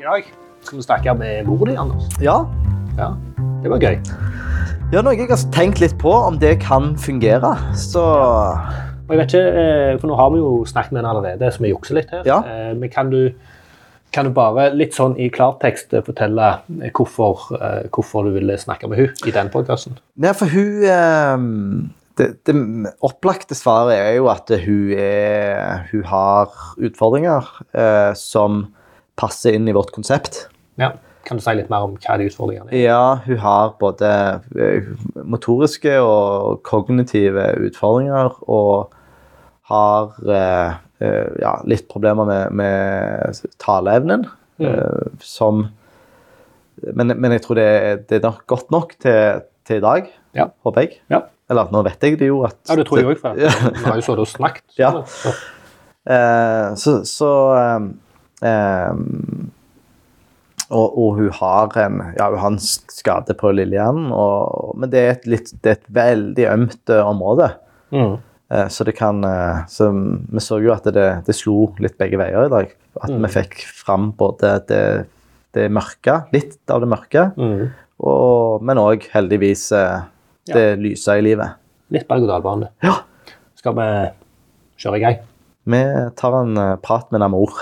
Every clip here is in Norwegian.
I dag skal vi snakke med mor di, Anders. Ja. Ja, det var gøy. ja, noe jeg har tenkt litt på, om det kan fungere. Så Og jeg vet ikke, eh, for nå har vi jo snakket med henne allerede, så vi jukser litt her. Ja. Eh, Men kan du, kan du bare litt sånn i klartekst eh, fortelle eh, hvorfor, eh, hvorfor du ville snakke med henne i den podkasten? Nei, for hun ehm, det, det opplagte svaret er jo at hun, er, hun har utfordringer eh, som passer inn i vårt konsept. Ja. Kan du si litt mer om hva de utfordringene er? Ja, hun har både eh, motoriske og kognitive utfordringer og har eh, eh, ja, litt problemer med, med taleevnen. Mm. eh, som men, men jeg tror det, er- det er nok godt nok til, til i dag, Ja. håper jeg. Ja. Eller nå vet jeg det jo at Ja, det tror jeg òg, for Ja. vi har jo sittet og snakket. Ja. Så- Eh, så så eh, eh, og, og hun har en, ja, hun har en skade på lillehjernen, og, men det er et, litt, det er et veldig ømt eh, område. Mm. Eh, så det kan eh, så Vi så jo at det, det slo litt begge veier i dag. At Mm. vi fikk fram både det, det mørke, litt av det mørke, Mm. og, men òg heldigvis eh, det lyse i livet. Litt berg-og-dal-bane. Ja. Skal vi kjøre i gang? Vi tar en eh, prat med Namor.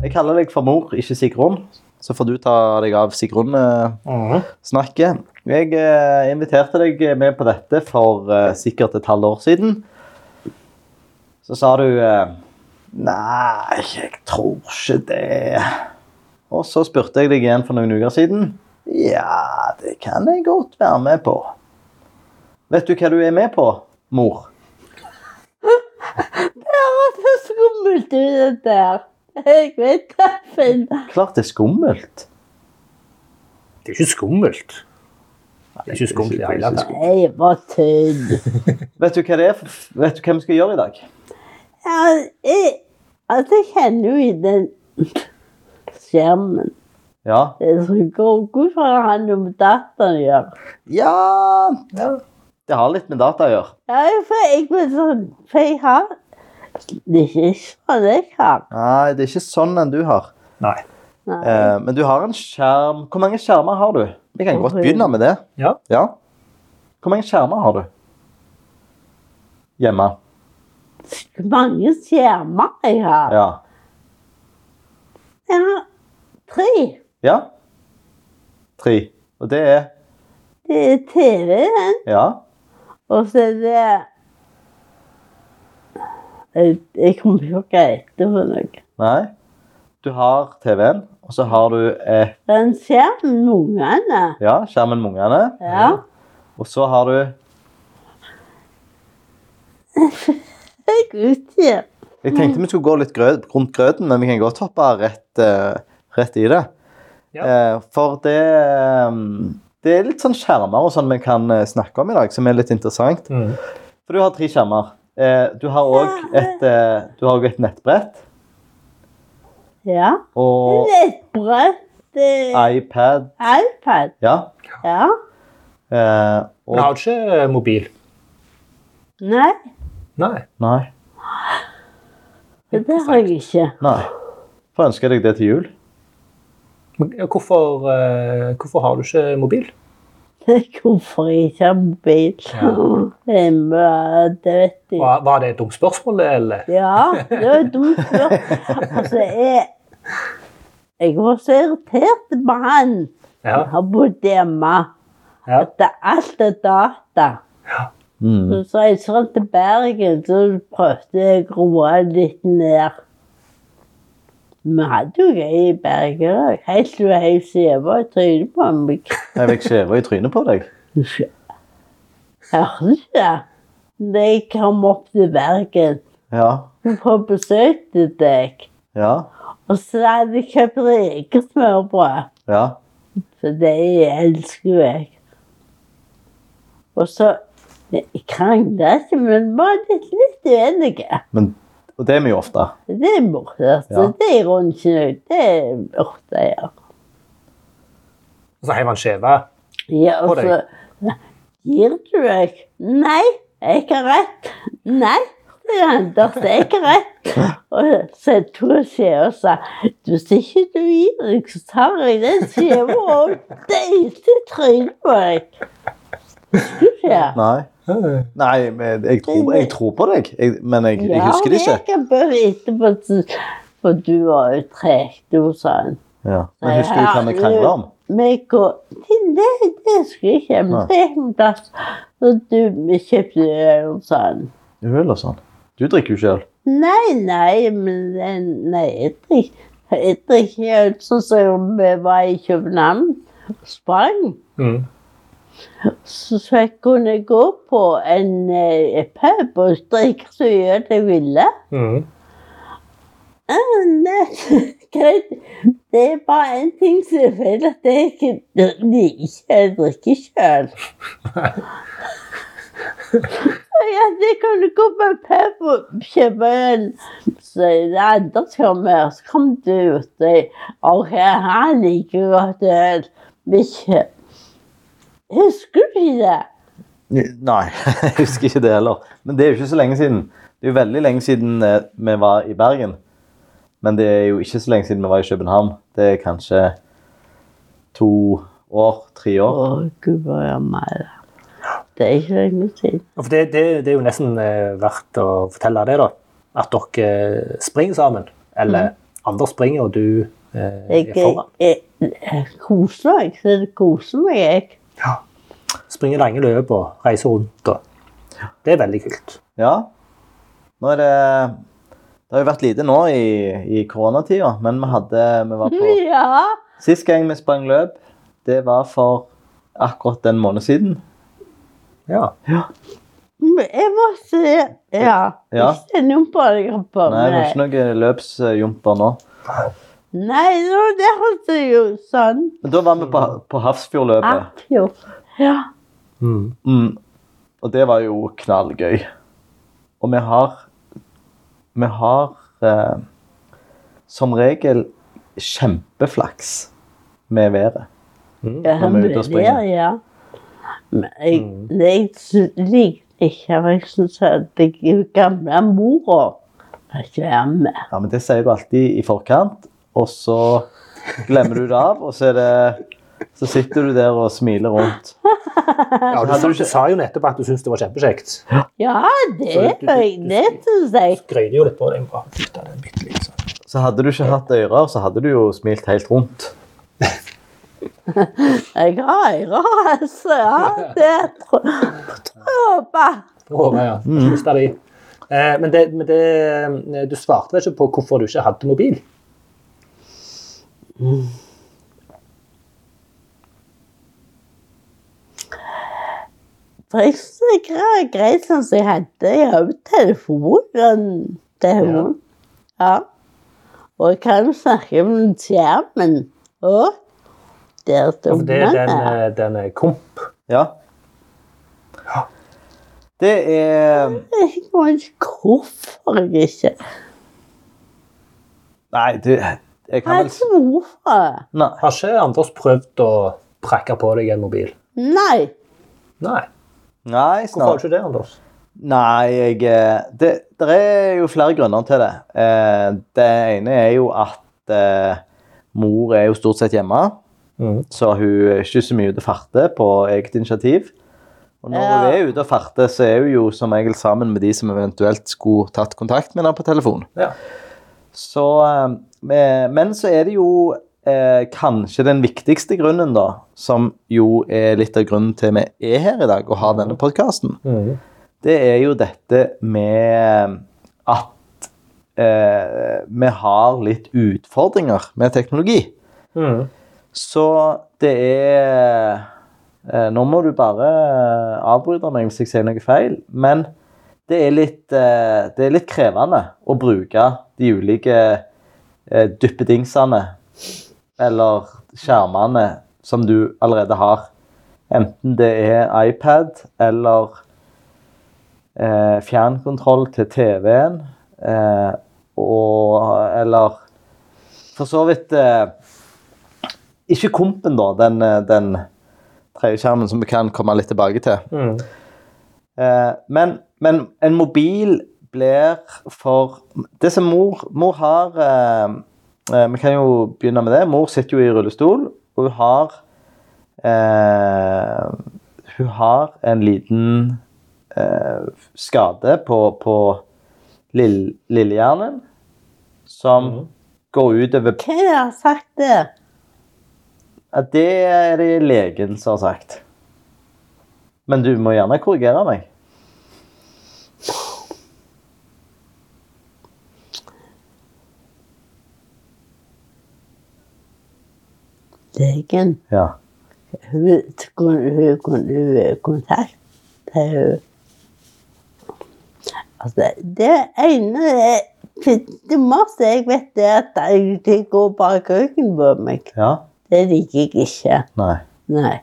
Jeg kaller deg for mor, ikke Sigrun. Så får du ta deg av eh, Sigrun-snakket. Mhm. Jeg eh, inviterte deg med på dette for eh, sikkert et halvt år siden. Så sa du eh, Nei, jeg tror ikke det. Og så spurte jeg deg igjen for noen uker siden. Ja, det kan jeg godt være med på. Vet du hva du er med på, mor? Det høres skummelt ut, det der. Jeg vet det, Finn. Klart det er skummelt. Det er ikke skummelt. Det er ikke skummelt i det hele tatt. Jeg var tynn. Vet du hva det er? for- Vet du hva vi skal gjøre i dag? Ja, jeg, altså, jeg kjenner jo i den skjermen. Ja. Det er så godt. Hvorfor har han noe med datteren å gjøre? Ja Det har litt med data å gjøre. Ja, for jeg ble sånn For jeg har Det er ikke sånn jeg har. Nei, det er ikke sånn enn du har. Nei. Nei. Eh, men du har en skjerm. Hvor mange skjermer har du? Vi kan godt begynne med det. Ja. Ja. Hvor mange skjermer har du? Hjemme. Hvor mange skjermer jeg har? Ja. Jeg har tre. Ja. Tre. Og det er Det er TV-en. Ja. Og så er det Jeg, jeg kommer ikke på hva det er for noe. Nei. Du har TV-en, og så har du eh, Den skjermen med ungene. ja, skjermen med ungene. Ja. Og så har du Jeg utgir. Jeg tenkte vi skulle gå litt grød, rundt grøten, men vi kan godt hoppe rett, eh, rett i det. Ja. Eh, for det eh, Det er litt sånn skjermer og sånn vi kan eh, snakke om i dag, som er litt interessant. Mm. For du har tre skjermer. Eh, du har òg et, eh, du har også et nettbrett Ja. og Nettbrett. Det er iPad. iPad. Ja. Ja. Eh, Men og har du ikke eh, mobil? Nei, Nei. Nei. det har jeg ikke. Nei. Får ønske deg det til jul. Men Hvorfor, eh, hvorfor har du ikke mobil? Det er Hvorfor jeg ikke har mobil? Det er mye, det vet jeg. Var, var det et dumt spørsmål, eller? Ja, det var et dumt spørsmål. Altså, jeg, jeg var så irritert på han. Ja. Han bodde hjemme. Ja. At det- alt er data. Mm. Så sa jeg sånn til Bergen, så prøvde jeg å roe han litt ned. Vi hadde jo gøy i Bergen òg. Helt til hun heiv seva i trynet på meg. Jeg fikk skjeva i trynet på deg. Hørte du det? Da jeg kom opp til Bergen Ja. på besøk til deg. Ja. Og så hadde jeg kjøpt rekesmørbrød, Ja. for det elsker jo jeg. Og så Jeg krangla ikke, men var litt, litt uenige. Men, og det er vi jo ofte. Det er morsomt. Ja. Det er rundt snø. Det orker jeg. Og så heiv han skjeva. Ja, På altså, og deg. så Gir du deg? Nei, jeg har rett. Nei, deg, Anders, det er ikke rett. Og så tok jeg skjea og sa hvis ikke du gir deg, så tar jeg den skjea og deiter trynet på deg. Skulle skje. Nei. Nei, men jeg tror, jeg tror på deg, jeg, men jeg, jeg Ja, husker det ikke. jeg kan bare etterpå at- For du var jo treg, du sa han. Ja. Men husker du hva vi krangla om? Vi går til det, det skulle jeg ikke. Men Nei. det er en plass. Og du vi kjøpte øl og sånn. Øl og sånn. Du drikker jo ikke øl. Nei, nei, men det- nei, jeg drik- jeg drikker øl sånn som vi var i København. Sprang. Mm. Så, så jeg kunne gå på en eh, pub og drikke så mye øl jeg ville. Mm. Ja, men det- Greit. Det er bare én ting som er feil, at jeg ikke liker Jeg drikker sjøl. Ja, det kan du gå på en pub og kjøpe en Så det er andre som kommer, så kom du ut og OK, han liker godt øl. Men ikke Husker du ikke det? Nei, jeg husker ikke det heller. Men det er jo ikke så lenge siden. Det er jo veldig lenge siden eh, vi var i Bergen. Men det er jo ikke så lenge siden vi var i København. Det er kanskje to år, tre Å, år. gud hva meg. Det er ikke lenge siden. Ja, For det, det, det er jo nesten eh, verdt å fortelle det, da. At dere eh, springer sammen. Eller andre springer, og du eh, er Jeg, jeg, foran. jeg, jeg eh, koser meg, så det koser meg, jeg. Springer lange løp og reiser rundt. Og. Det er veldig kult. Ja. Nå er det Det har jo vært lite nå i, i koronatida, men vi hadde Vi var på Ja. Sist gang vi sprang løp, det var for akkurat den måned siden. Ja. men Jeg må se Ja. Ja. Ikke se noen barnegruppe. Nei, det var ikke noen løpsjumper nå. Nei, det var derfor det er jo sånn. Men da var vi på, på Hafrsfjordløpet. App, jo. Ja. Mm. Mm. Og det var jo knallgøy. Og vi har Vi har eh, som regel kjempeflaks med været. ja Når vi er ute og men springer. der, ja. Men jeg, jeg sy- likte ikke for Jeg syns at den gamle mora var ikke være med. Ja, men Det sier du alltid i forkant, og så glemmer du det av, og så, er det, så sitter du der og smiler rundt. Ja, du, sa, du sa jo nettopp at du syntes det var kjempekjekt. Ja, det Så du- du- er jeg. Det syns jeg. Skryter jo litt på deg. Bare flytte den bitte litt. sånn. Så hadde du ikke hatt ører, så hadde du jo smilt helt rundt. Jeg har ører, altså. Ja, det tror jeg. Håper. Å, ja, Mm. ja. Mista de. Eh, men det, men det, eh, du svarte vel ikke på hvorfor du ikke hadde mobil? For jeg synes det var greit sånn som jeg hadde. Jeg har jo telefon. den- telefon. Ja. Og jeg kan jo snakke med skjermen. Å, der Ja, tok for det er den, man eh, den eh, komp. Ja. Det er Jeg kommer ikke hvorfor jeg ikke Nei, du Jeg kan Han vel svor fra Nei. Har ikke Anders prøvd å prakke på deg en mobil? Nei. Nei. Hvorfor Nei, har snart. du ikke det, Anders? Nei, jeg eh, Det der er jo flere grunner til det. Eh, Det ene er jo at eh, mor er jo stort sett hjemme, Mhm. så hun er ikke så mye ute og farter på eget initiativ. Og når Ja. hun er ute og farter, så er hun jo som regel sammen med de som eventuelt skulle tatt kontakt med henne på telefon. Ja. Så, eh, men så er det jo eh, kanskje den viktigste grunnen, da, som jo er litt av grunnen til vi er her i dag og har denne podkasten, Mhm. det er jo dette med at eh, vi har litt utfordringer med teknologi. Mhm. Så det er eh, Nå må du bare eh, avbryte meg hvis jeg sier noe feil, men det er litt, eh, det er litt krevende å bruke de ulike eh, duppedingsene eller skjermene som du allerede har. Enten det er iPad eller eh, fjernkontroll til TV-en, eh, og eller for så vidt eh, ikke kompen, da. Den, eh, den tredje skjermen mm. som vi kan komme litt tilbake til. Mhm. Eh, men, men en mobil blir for Det som mor Mor har eh, eh, Vi kan jo begynne med det. Mor sitter jo i rullestol, og hun har eh, Hun har en liten eh, skade på, på lill, lillehjernen som går ut over Hvem har sagt det? ja, Det er det legen som har sagt. Men du må gjerne korrigere meg. Legen. Ja. Hun kunne hun kunne kontakte henne. Altså, det ene er- Det meste jeg vet, det er at jeg- de går bak ryggen på meg. Ja. Det liker jeg ikke. Nei. Nei.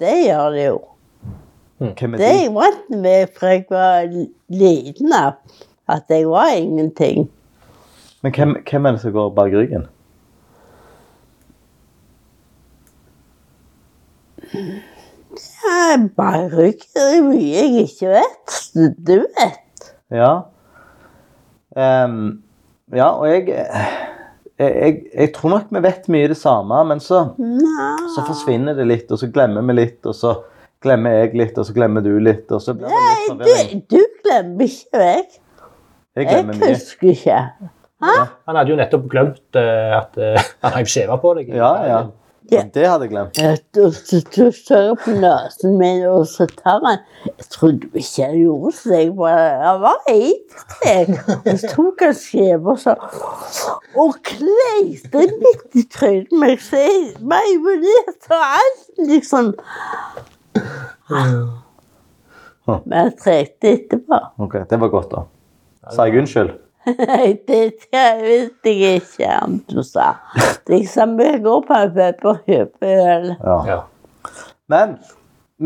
Det gjør de jo. Hvem er Det er de? jeg vant med fra jeg var liten av. At jeg var ingenting. Men hvem, hvem er det som går bak ryggen? Jeg bare rykker i mye jeg ikke vet. Du vet. Ja. Ehm, ja, og jeg, jeg, jeg Jeg tror nok vi vet mye det samme, men så, så forsvinner det litt, og så glemmer vi litt, og så glemmer jeg litt, og så glemmer du litt, og så blir det litt Nei, forvirring. du, du glemmer ikke meg. Jeg Jeg glemmer mye. husker ikke. Han hadde jo nettopp glemt eh, at eh, han har jo skjeva på deg. Ja, ja. Og det hadde jeg glemt. Jeg sto- sto- sto- står på nesen min, og så tar han Jeg trodde ikke jeg gjorde så jeg bare Jeg var egentlig Og så tok han skjeve og så Og kleiste midt i trynet på meg, så jeg var imponert og alt, liksom. Men jeg trengte etterpå. Ok, Det var godt, da. Sa jeg unnskyld? Nei, det, det visste jeg ikke om du sa. Liksom, vi går på en pub og kjøper øl. Ja. Ja. Men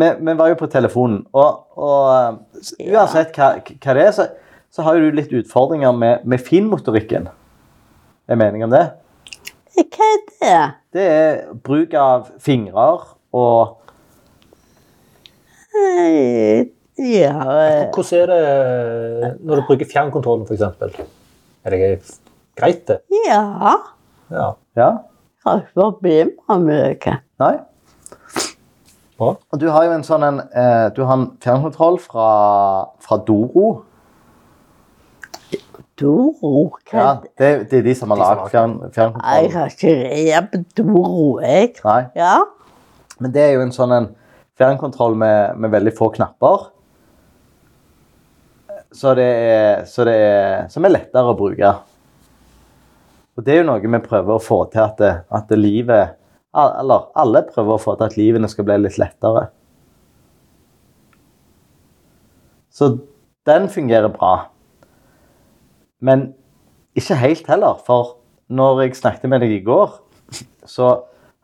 vi, vi var jo på telefonen, og, og s- uansett hva, hva det er, så, så har jo du litt utfordringer med, med finmotorikken. Er meningen om det? Hva er det? Det er bruk av fingrer og Nei, Ja eh, Hvordan er det eh, når du bruker fjernkontrollen, f.eks.? Er det greit, det? Ja. Ja. Ja? Har ikke problemer med det. Nei? Bra. Og du har jo en sånn en eh, Du har en fjernkontroll fra, fra Doro. Doro? Hva Ja, det, det er de som har De som lagd har- fjern, Nei, fjernkontroll. Jeg har ikke greie på Doro, jeg. Nei. Ja. Men det er jo en sånn en fjernkontroll med, med veldig få knapper. Så det, er, så det er Som er lettere å bruke. Og det er jo noe vi prøver å få til at, det, at det livet al- Eller alle prøver å få til at livene skal bli litt lettere. Så den fungerer bra. Men ikke helt heller, for når jeg snakket med deg i går, så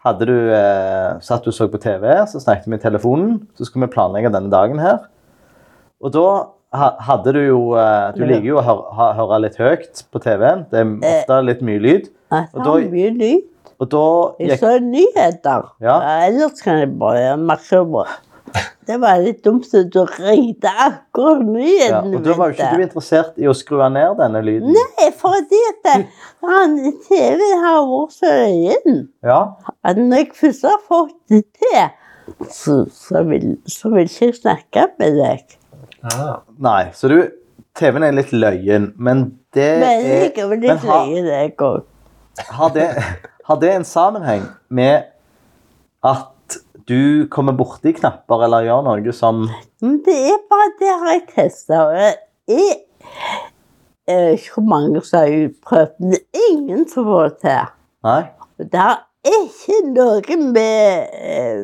hadde du, eh, satt du og så på TV, så snakket vi i telefonen, så skulle vi planlegge denne dagen her. Og da ha, hadde du jo eh, Du Ja. liker jo å høre, ha, høre litt høyt på TV-en. Det er Eh. ofte litt mye lyd. Jeg Og har da- mye lyd. Og da Jeg gikk så nyheter. Ja. Ellers kan jeg bare gjøre makrober. Det var litt dumt at du ringte ja, akkurat nyheten. Og da var jo ikke du interessert i å skru ned denne lyden. Nei, fordi at det- han TV-en har vært så øyen Ja. at når jeg først har fått det til, så, så, vil, så vil ikke jeg snakke med deg. Ah. Nei, så du TV-en er litt løyen, men det Men er- likevel Eh, men litt har- løye, det òg. har det, har det en sammenheng med at du kommer borti knapper eller gjør noe som Men det er bare det har jeg testa. Jeg er ikke hvor mange som har prøvd, men det er ingen som får det til. Nei? Og Det har ikke noe med, eh,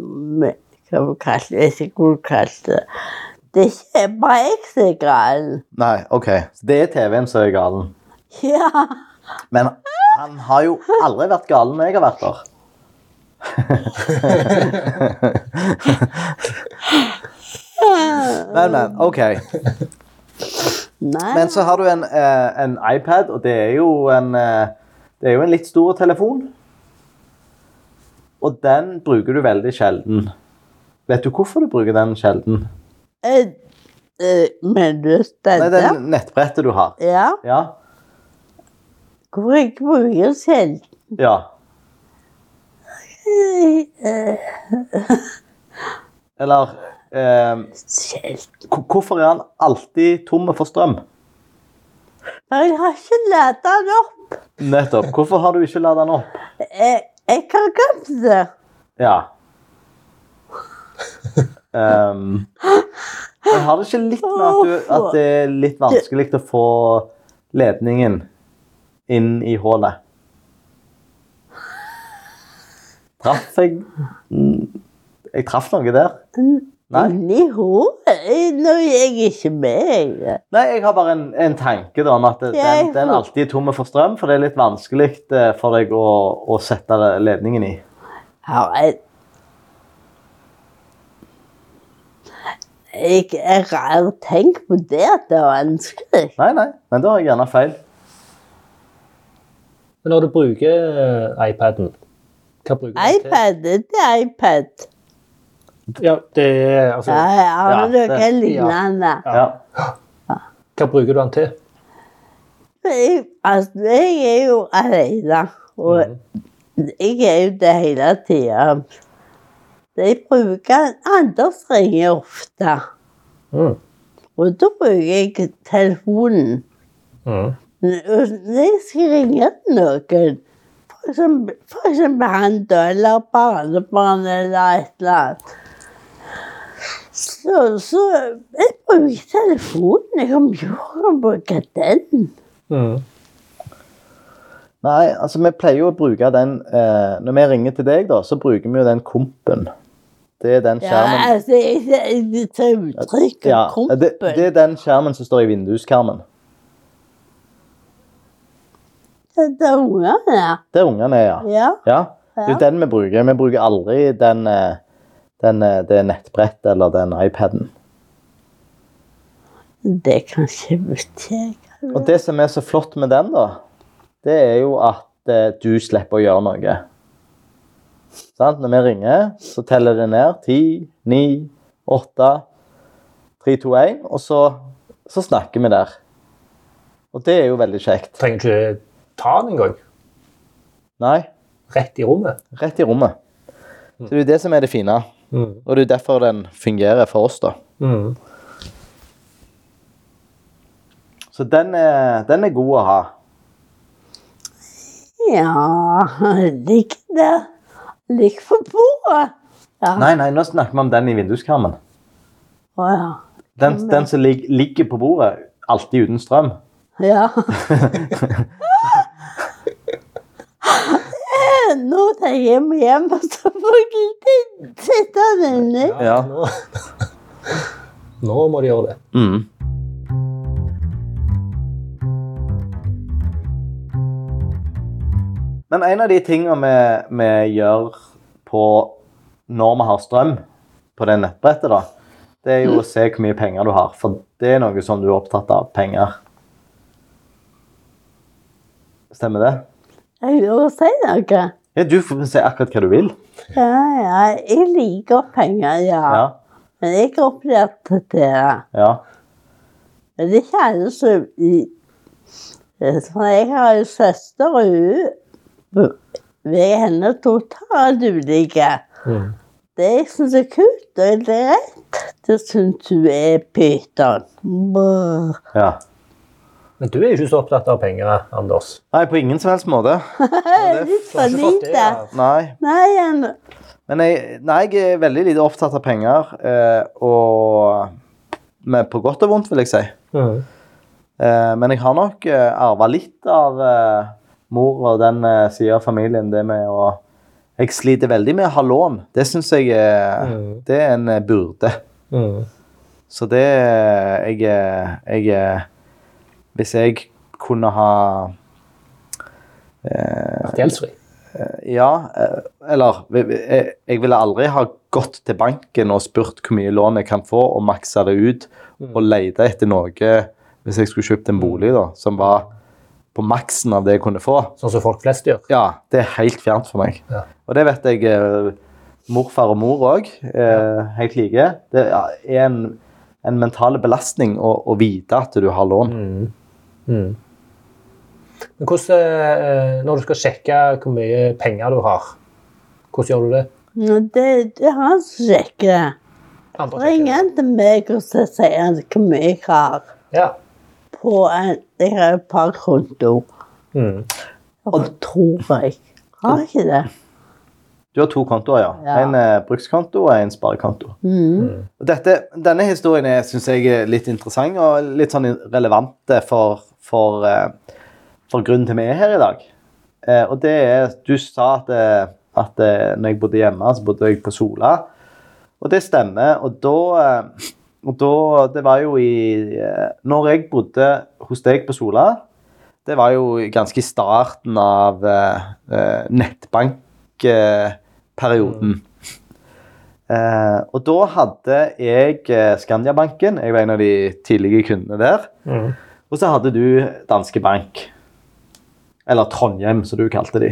med Hva man kaller det? Jeg vet ikke hva man kaller det. Det er ikke bare jeg som er gal. Nei, OK. Så det er TV-en som er galen. Ja. Men han har jo aldri vært galen når jeg har vært der. Men, men. OK. Nei. Men så har du en, eh, en iPad, og det er jo en eh, Det er jo en litt stor telefon. Og den bruker du veldig sjelden. Vet du hvorfor du bruker den sjelden? Eh, Eh, Men du Nei, det stedet? er nettbrettet du har. Ja. Ja. Hvorfor ikke bruke selv? ja. Eh, Eller eh, selv. hvor- Hvorfor er han alltid tom for strøm? Men Jeg har ikke lært den opp. Nettopp. Hvorfor har du ikke ladd den opp? Jeg, jeg kan glemt det. Ja. Ehm, men har det ikke litt med at, du, at det er litt vanskelig å få ledningen inn i hullet? Traff jeg Mm, Jeg traff noe der. Nei. Inni hodet. Eh, Nå er jeg ikke eh, med. jeg. Nei, jeg har bare en, en tanke da, om at den, Jeg- den alltid er tom for strøm, for det er litt vanskelig eh, for deg å, å sette ledningen i. Har jeg Jeg jeg har tenkt på det at det er vanskelig. Nei, nei, men da har jeg gjerne feil. Men når du bruker eh, iPaden Hva bruker du den til? iPad det er iPad. Ja, det er, altså, Ja, jeg har Ja, noe det- lignende. Ja. Ja. Hva bruker du den til? Jeg, altså, jeg er jo alene, og jeg er jo det hele tida. Jeg bruker Anders ringer ofte, Mm. og da bruker jeg telefonen. Mm. Men Når jeg skal ringe til noen, for eksempel, for eksempel han da, eller barnebarnet eller et eller annet, så, så jeg bruker telefonen. Jeg kan jo bruke den. Mm. Nei, altså vi pleier jo å bruke den eh, Når vi ringer til deg, da, så bruker vi jo den kompen. Det er den Ja, skjermen. altså, jeg- jeg- det tar uttrykk av Ja, kroppen. det, det er den skjermen som står i vinduskarmen. Det er ungene. Der ungene er, ja. Ja. ja. Det er jo den vi bruker. Vi bruker aldri den, eh, den, eh, det nettbrettet eller den iPaden. Det kan ikke bety Og det som er så flott med den, da, det er jo at eh, du slipper å gjøre noe. Sant? Når vi ringer, så teller det ned. 10, 9, 8, 3, 2, 1. Og så, så snakker vi der. Og det er jo veldig kjekt. Trenger ikke ta den engang. Nei, Rett i rommet. rett i rommet. Så det er jo det som er det fine. Mm. Og det er jo derfor den fungerer for oss, da. Mm. Så den er, den er god å ha. Ja, ligg der. Ligg på bordet. Ja. Nei, nei, nå snakker vi om den i vinduskarmen. Å, ja. Den, den som lig, ligger på bordet, alltid uten strøm. ja. Eh, Nå tar jeg meg hjem, og så får jeg litt- sitte den inni. Ja. Nå. Nå må de gjøre det. Mm. Men en av de tingene vi, vi gjør på når vi har strøm på det nettbrettet, da, det er jo å se hvor mye penger du har. For det er noe som du er opptatt av. Penger. Stemmer det? Jeg vil jo si noe. Ja, du får se akkurat hva du vil. Ja, ja. Jeg liker penger, ja. Ja. Men jeg er opplært til det. ja. Men det er ikke alle som i- eh, For Jeg har en søster, og hun Vi er henne totalt ulike. Mm. Det jeg syns er kult, og det er rett, det syns hun er pyton. Brr. ja. Men du er jo ikke så opptatt av penger, Anders. Nei, på ingen som helst måte. Litt Du har for ikke fått det, lite. ja. Nei. Nei, han Men jeg, nei, jeg er veldig lite opptatt av penger, eh, og men på godt og vondt, vil jeg si. Mm. Eh, men jeg har nok eh, arva litt av eh, mor og den eh, sida av familien, det med å Jeg sliter veldig med å ha lån. Det syns jeg eh, Mm. Det er en eh, burde. Mm. Så det eh, jeg, eh, jeg eh, Hvis jeg kunne ha eh, Gjeldsfri. Ja, eh, eller vi- vi- Jeg jeg ville aldri ha gått til banken og spurt hvor mye lån jeg kan få, og maksa det ut, og leita etter noe hvis jeg skulle kjøpt en bolig da, som var på maksen av det jeg kunne få. Sånn som folk flest gjør. Ja, Det er helt fjernt for meg. Ja. Og det vet jeg eh, morfar og mor òg eh, helt like. Det er en en mental belastning å, å vite at du har lån. Mm. Mm. Men hvordan, eh, når du skal sjekke hvor mye penger du har, hvordan gjør du det? Men Det, det er han som sjekker det. Andre Ring sjekker det. han til meg og så sier han hvor mye jeg har Ja. på en, jeg har et par kontoer. Mm. Og tror jeg. Har ikke det. Du har to kontoer, ja. Ja. En eh, brukskonto og en sparekonto. Mm. Og dette, denne historien er, synes jeg er litt interessant og litt sånn relevant eh, for, for, eh, for grunnen til vi er her i dag. Eh, Og det er Du sa at, eh, at eh, når jeg bodde hjemme, så bodde jeg på Sola. Og det stemmer. Og da, eh, og da Det var jo i eh, Når jeg bodde hos deg på Sola, det var jo ganske i starten av eh, nettbankperioden. Eh, og da hadde jeg eh, Skandiabanken. Jeg var en av de tidlige kundene der. Mm. Og så hadde du Danske Bank. Eller Trondheim, som du kalte de.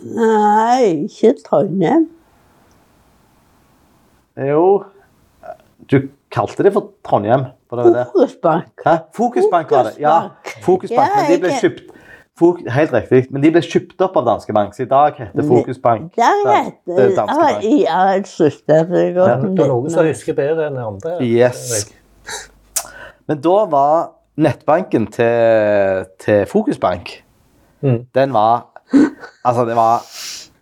Nei, ikke Trondheim. Jo Du kalte det for Trondheim. Var det det? Fokusbank. Hæ? Fokusbank var det. Ja, Fokusbank, Ja, men de ble jeg- kjøpt Fok helt riktig, men de ble kjøpt opp av Danske Bank, så i dag heter Fokusbank Der heter Danske Bank. det Jeg søster det er Ja, godt det er noen som husker bedre enn andre. Yes. Men da var nettbanken til, til Fokusbank Mm. Den var Altså, det var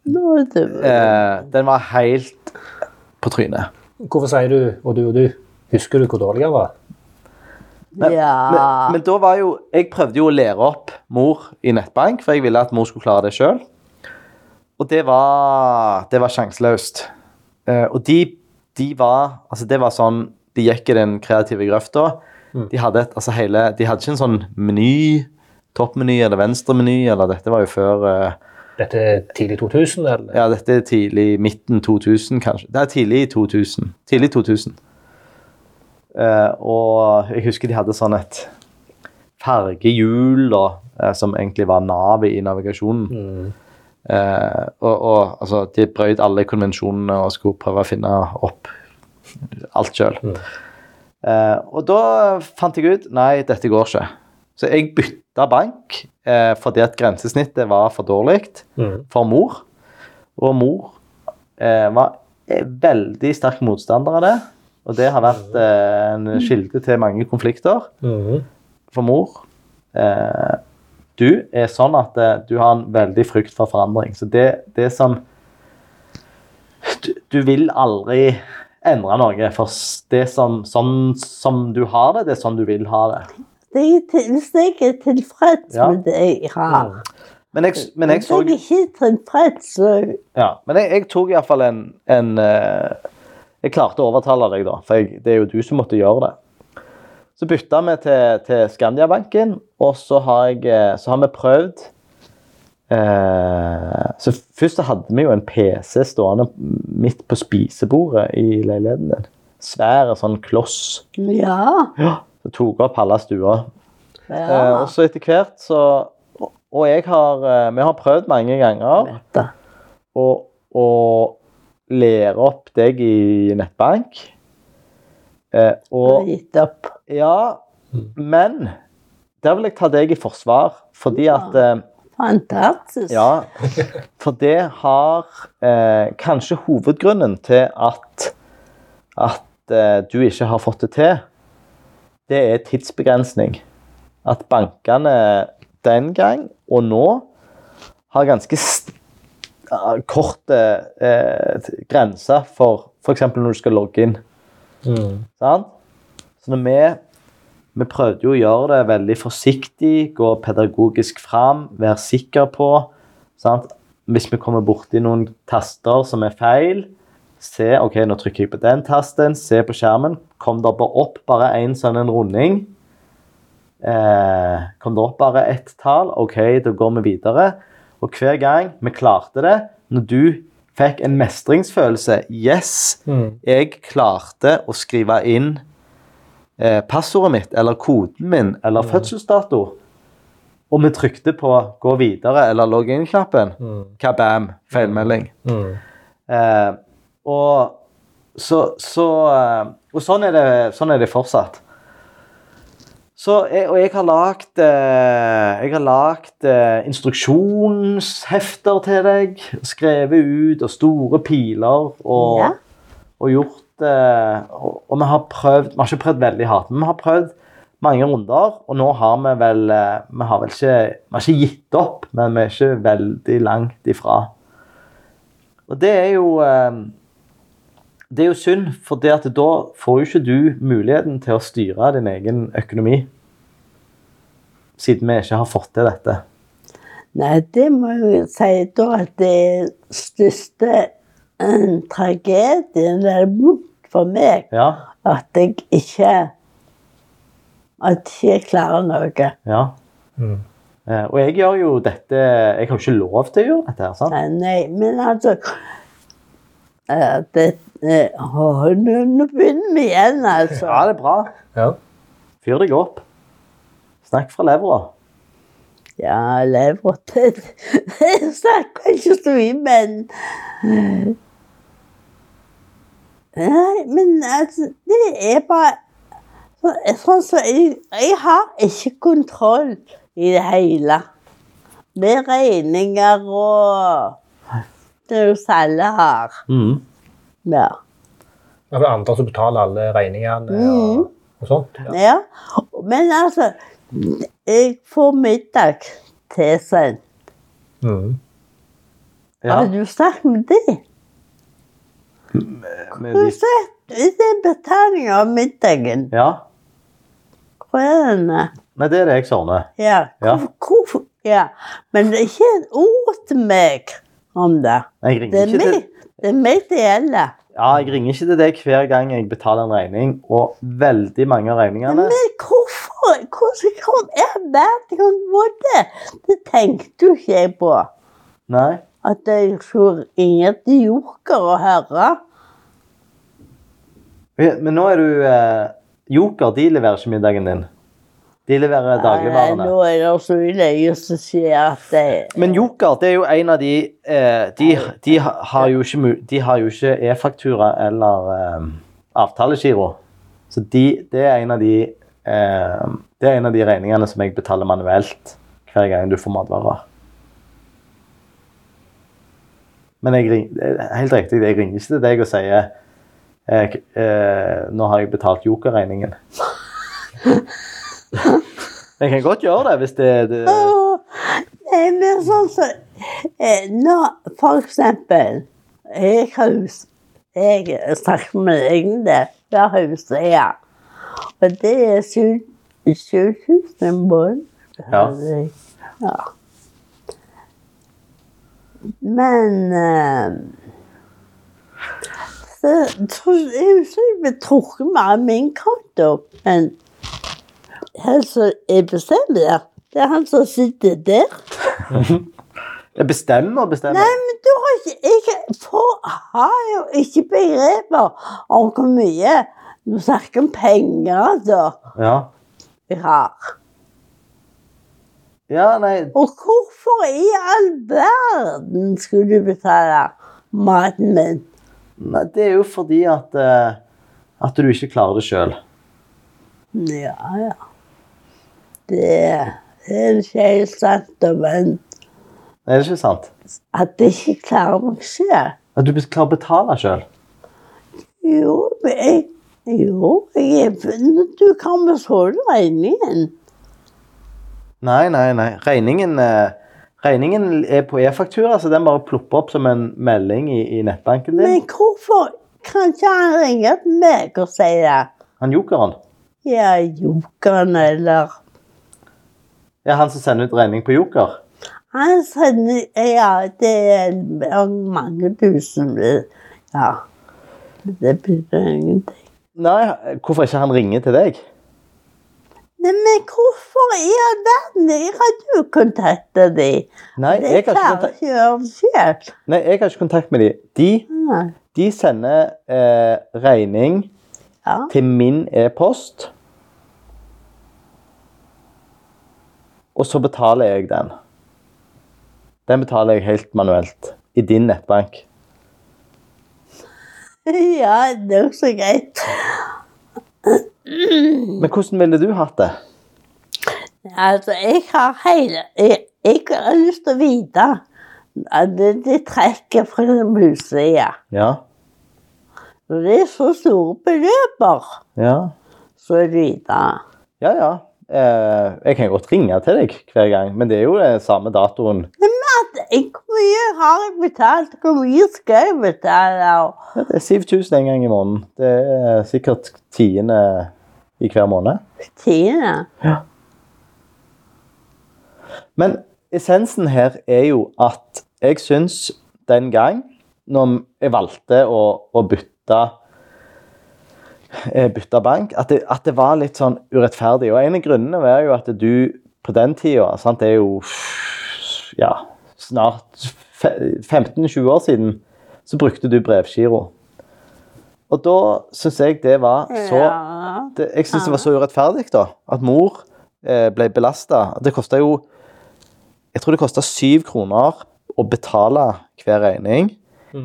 Nå er det Eh, den var helt på trynet. Hvorfor sier du 'og du og du'? Husker du hvor dårlig han var? Men, Ja. men, men da var jo Jeg prøvde jo å lære opp mor i nettbank, for jeg ville at mor skulle klare det sjøl. Og det var Det var sjanseløst. Eh, og de, de var Altså, det var sånn De gikk i den kreative grøfta. De hadde et, altså hele, de hadde ikke en sånn meny, toppmeny eller venstremeny, eller dette var jo før eh, Dette er tidlig 2000, eller? Ja, dette er tidlig midten 2000, kanskje. Det er tidlig i 2000. Tidlig 2000. Eh, og jeg husker de hadde sånn et fargehjul da, eh, som egentlig var navet i navigasjonen. Mm. Eh, og og altså, de brøt alle konvensjonene og skulle prøve å finne opp alt sjøl. Eh, og da fant jeg ut nei, dette går ikke. Så jeg bytta bank eh, fordi at grensesnittet var for dårlig Mm. for mor. Og mor eh, var eh, veldig sterk motstander av det. Og det har vært eh, en kilde til mange konflikter Mm. for mor. Eh, du er sånn at eh, du har en veldig frykt for forandring. Så det, det som du, du vil aldri endre noe, for s- det som, sånn som du har det, det er sånn du vil ha det. Det er til- Hvis jeg er tilfreds Ja. med det jeg har Men jeg, s- men jeg så Hvis jeg ikke er tilfreds, så Ja, men jeg, jeg tok iallfall en, en eh, Jeg klarte å overtale deg, da, for jeg, det er jo du som måtte gjøre det. Så bytta vi til, til Skandiabanken, og så har, jeg, eh, så har vi prøvd eh, Så først så hadde vi jo en PC stående midt på spisebordet i leiligheten din. Svær sånn kloss. Ja. Det tok opp halve stua. Eh, ja. og så etter hvert så og- Og jeg har, eh, vi har prøvd mange ganger vet du. og, og lære opp deg i nettbank. Eh, Jeg har og gitt opp. ja, men der vil jeg ta deg i forsvar, fordi at eh, Fantastisk. Ja. For det har eh, kanskje hovedgrunnen til at at eh, du ikke har fått det til, det er tidsbegrensning. At bankene den gang og nå har ganske st eh, korte eh, t- grenser for f.eks. når du skal logge inn. Mm. Sant? Så når vi, vi prøvde jo å gjøre det veldig forsiktig, gå pedagogisk fram, være sikker på sant? Hvis vi kommer borti noen taster som er feil, se ok, nå trykker jeg på den tasten, se på skjermen. Kom det bare opp bare en sånn en runding? Eh, kom det opp bare ett tall? Ok, da går vi videre. Og hver gang vi klarte det, når du fikk en mestringsfølelse Yes! Mm. jeg klarte å skrive inn eh, passordet mitt, eller koden min, eller fødselsdato, og vi trykte på 'gå videre' eller 'logg inn'-knappen, Mm. kabam, feilmelding. Mm. Eh, og Så, så eh, Og sånn er det, sånn er det fortsatt. Så jeg, og jeg har lagd eh, Jeg har lagd eh, instruksjonshefter til deg. Skrevet ut og store piler og, Ja. og gjort eh, og, og vi har prøvd Vi har ikke prøvd veldig hardt, men vi har prøvd mange runder. Og nå har vi vel eh, Vi har vel ikke, vi har ikke gitt opp, men vi er ikke veldig langt ifra. Og det er jo eh, det er jo synd, for det at da får jo ikke du muligheten til å styre din egen økonomi. Siden vi ikke har fått til dette. Nei, det må jeg jo si da at det største eh, tragedien det er vondt for meg Ja, at jeg ikke at jeg ikke klarer noe. ja. Eh, Og jeg gjør jo dette Jeg har jo ikke lov til å gjøre dette. her, sant? Nei, nei men altså eh, det, eh, å, nå, nå begynner vi igjen, altså. Ja, det er bra. Ja. Fyr deg opp. Snakk fra levra. Ja, lever det Jeg snakker ikke så mye, men Nei, men altså Det er bare så- sånn som jeg, jeg har ikke kontroll i det hele. Med regninger og Det er jo som alle har. Mm. Ja. Er det andre som betaler alle regningene og, og sånt? Ja. ja. Men altså Jeg får middag tilsendt. Mm. Ja, Har du snakket med dem? med Du de- sett, det er betaling av middagen. ja. Hvor er den? da? Nei, det er det jeg sovner. Ja, Ja. hvorfor? hvorfor? Ja. Men det er ikke et ord til meg om det. Jeg Det ringer er ikke til meg det, er meg det gjelder. Ja, jeg ringer ikke til deg hver gang jeg betaler en regning, og veldig mange av regningene Men hvorfor? Hvordan kom jeg med til en måte? Det tenkte jo ikke jeg på. Nei. At jeg tror ingen joker å høre. Ja, Men nå er du eh, Joker de leverer ikke middagen din. De leverer Nei, dagligvarene. Eh, Nå er det så løye som sier at jeg Men Joker det er jo en av de eh, de, de ha- har jo ikke, mu- de har jo ikke e-faktura eller eh, avtalegiro. Så de, det er en av de eh, det er en av de regningene som jeg betaler manuelt hver gang du får matvarer. Men jeg ring, det er helt riktig, jeg ringer ikke til deg og sier eh, k- eh, nå har jeg betalt jokerregningen. jeg kan godt gjøre det hvis det, det Åh, Nei, men sånn som eh, Nå, for eksempel Jeg har hus Jeg snakker med deg om det. Jeg har husleie. Og det er 7000 i måneden. Ja. ja. Men eh, så, så, Jeg husker jeg ble trukket mer av min konto. Men han som er bestemmer der, det er han som sitter der. Jeg bestemmer og bestemmer. Nei, men du har ikke Jeg får, har jo ikke begreper om hvor mye Du snakker om penger, altså. Ja. Jeg har. ja, nei Og hvorfor i all verden skulle du betale maten min? Nei, det er jo fordi at eh, At du ikke klarer det sjøl. Ja, ja. Det, det er ikke helt sant, da, men Er det ikke sant? at jeg ikke klarer meg selv At du klarer å betale sjøl. Jo, men jeg, jo, jeg er- men du kan betale regningen. Nei, nei, nei. Regningen, eh, regningen er på e-faktura, så den bare plopper opp som en melding i, i nettbanken din. Men hvorfor kan ikke han ringe til meg og si det? Han jokeren. Ja, jokeren, eller Ja, han som sender ut regning på joker. Han sender Ja, det er mange tusen Ja. Det betyr ingenting. Nei, hvorfor ikke han ringer til deg? Nei, men hvorfor i all verden? Jeg hadde jo kontakta de. Nei, Det jeg har ikke klarer kontakt, ikke å gjøre selv. nei, jeg har ikke kontakt med de. De, Nei. de sender eh, regning Ja. til min e-post. Og så betaler jeg den. Den betaler jeg helt manuelt i din nettbank. Ja, det er også greit. Men hvordan ville du hatt det? Altså, jeg har hele Jeg, jeg har lyst til å vite at det, det trekker fra den blusesida. Ja. Når det er så store beløper, Ja, så er det videre. ja. ja. Eh, jeg kan godt ringe til deg hver gang, men det er jo den samme datoen. At jeg, hvor mye har jeg betalt? Hvor mye skal jeg betale? Og Ja, det er 7000 en gang i måneden. Det er sikkert tiende i hver måned. tiende? Men essensen her er jo at jeg syns den gang når jeg valgte å, å bytte eh, bytte bank, at det, at det var litt sånn urettferdig. Og en av grunnene var jo at du på den tida sant, Det er jo ja, snart fe- 15-20 år siden så brukte du brevgiro. Og da syns jeg det var så Ja. det, jeg syns det var så urettferdig da, at mor eh, ble belasta. Det kosta jo Jeg tror det kosta syv kroner å betale hver regning.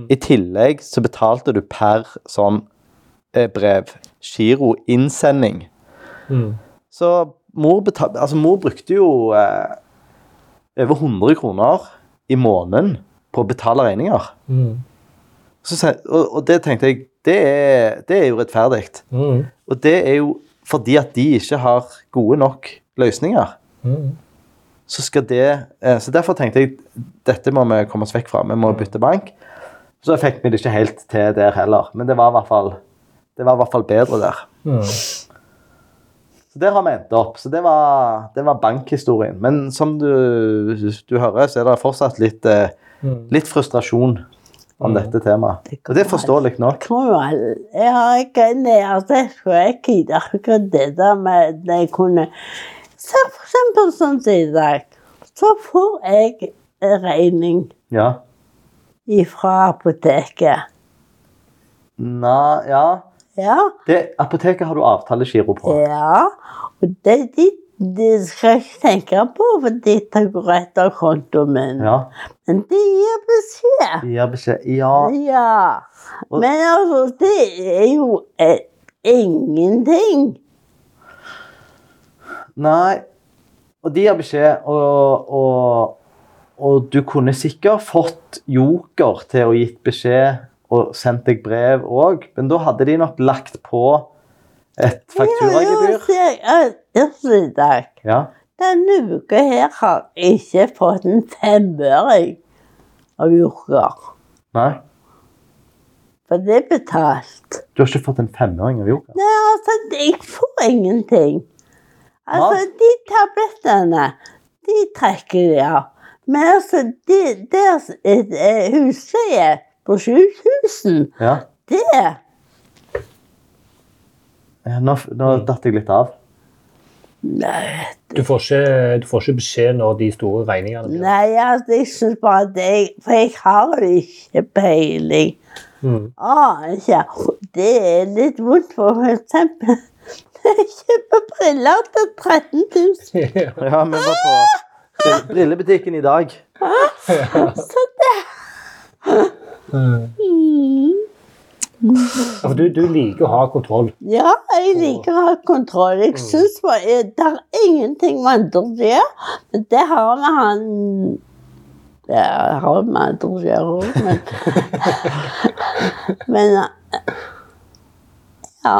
I tillegg så betalte du per sånn eh, brev. Giroinnsending. Mm. Så mor, betal, altså mor brukte jo eh, over 100 kroner i måneden på å betale regninger. Mm. Så, sa- og, og det tenkte jeg Det er, det er urettferdig. Mm. Og det er jo fordi at de ikke har gode nok løsninger. Mm. Så skal det eh, Så derfor tenkte jeg dette må vi komme oss vekk fra. Vi må bytte bank. Så fikk vi det ikke helt til der heller, men det var i hvert fall, det var i hvert fall bedre der. Mm. Så der har vi endt opp. Så det var, det var bankhistorien. Men som du, du hører, så er det fortsatt litt, eh, litt frustrasjon om dette temaet. Det kan Og det være. er forståelig nok. Kom igjen. Jeg har ikke lært jeg ikke akkurat det der med at jeg kunne Se for eksempel sånn som i dag. Så får jeg en regning Ja. fra apoteket. Nei, ja. Ja. Det, apoteket har du avtalegiro på. ja. Og det, de, de skal jeg ikke tenke på, for de tar går rett av kontoen min. Ja. Men de gir beskjed. Gir beskjed Ja. Ja. Og- Men altså, det er jo eh, ingenting. Nei. Og de gir beskjed, og, og, og du kunne sikkert fått joker til å gitt beskjed og sendt deg brev òg, men da hadde de nok lagt på et Ja, fakturagebyr. jo, sier jeg, altså, i dag. Ja. Denne uka her har jeg ikke fått en femøring av Joker. Nei. For det er betalt. Du har ikke fått en femøring av joker? Nei, altså, jeg får ingenting. Altså, Hva? de tablettene, de trekker de av. Men altså, de, deres eh, eh, husleie på 7000, Ja. det Ja, Nå, nå datt jeg litt av. Nei, Du får, ikke, du får ikke beskjed når de store regningene blir. nei altså, jeg syns bare at jeg For jeg har jo ikke peiling. Mm. aner ikke. Det er litt vondt, for eksempel. Jeg kjøper briller til 13 000, Ja, vi var på brill- brillebutikken i dag. så det Ja, for du, du liker å ha kontroll. Ja, jeg liker å ha kontroll. Jeg syns det er ingenting man andre gjør, men det har vi han Det har vi andre gjør òg, men Men Ja.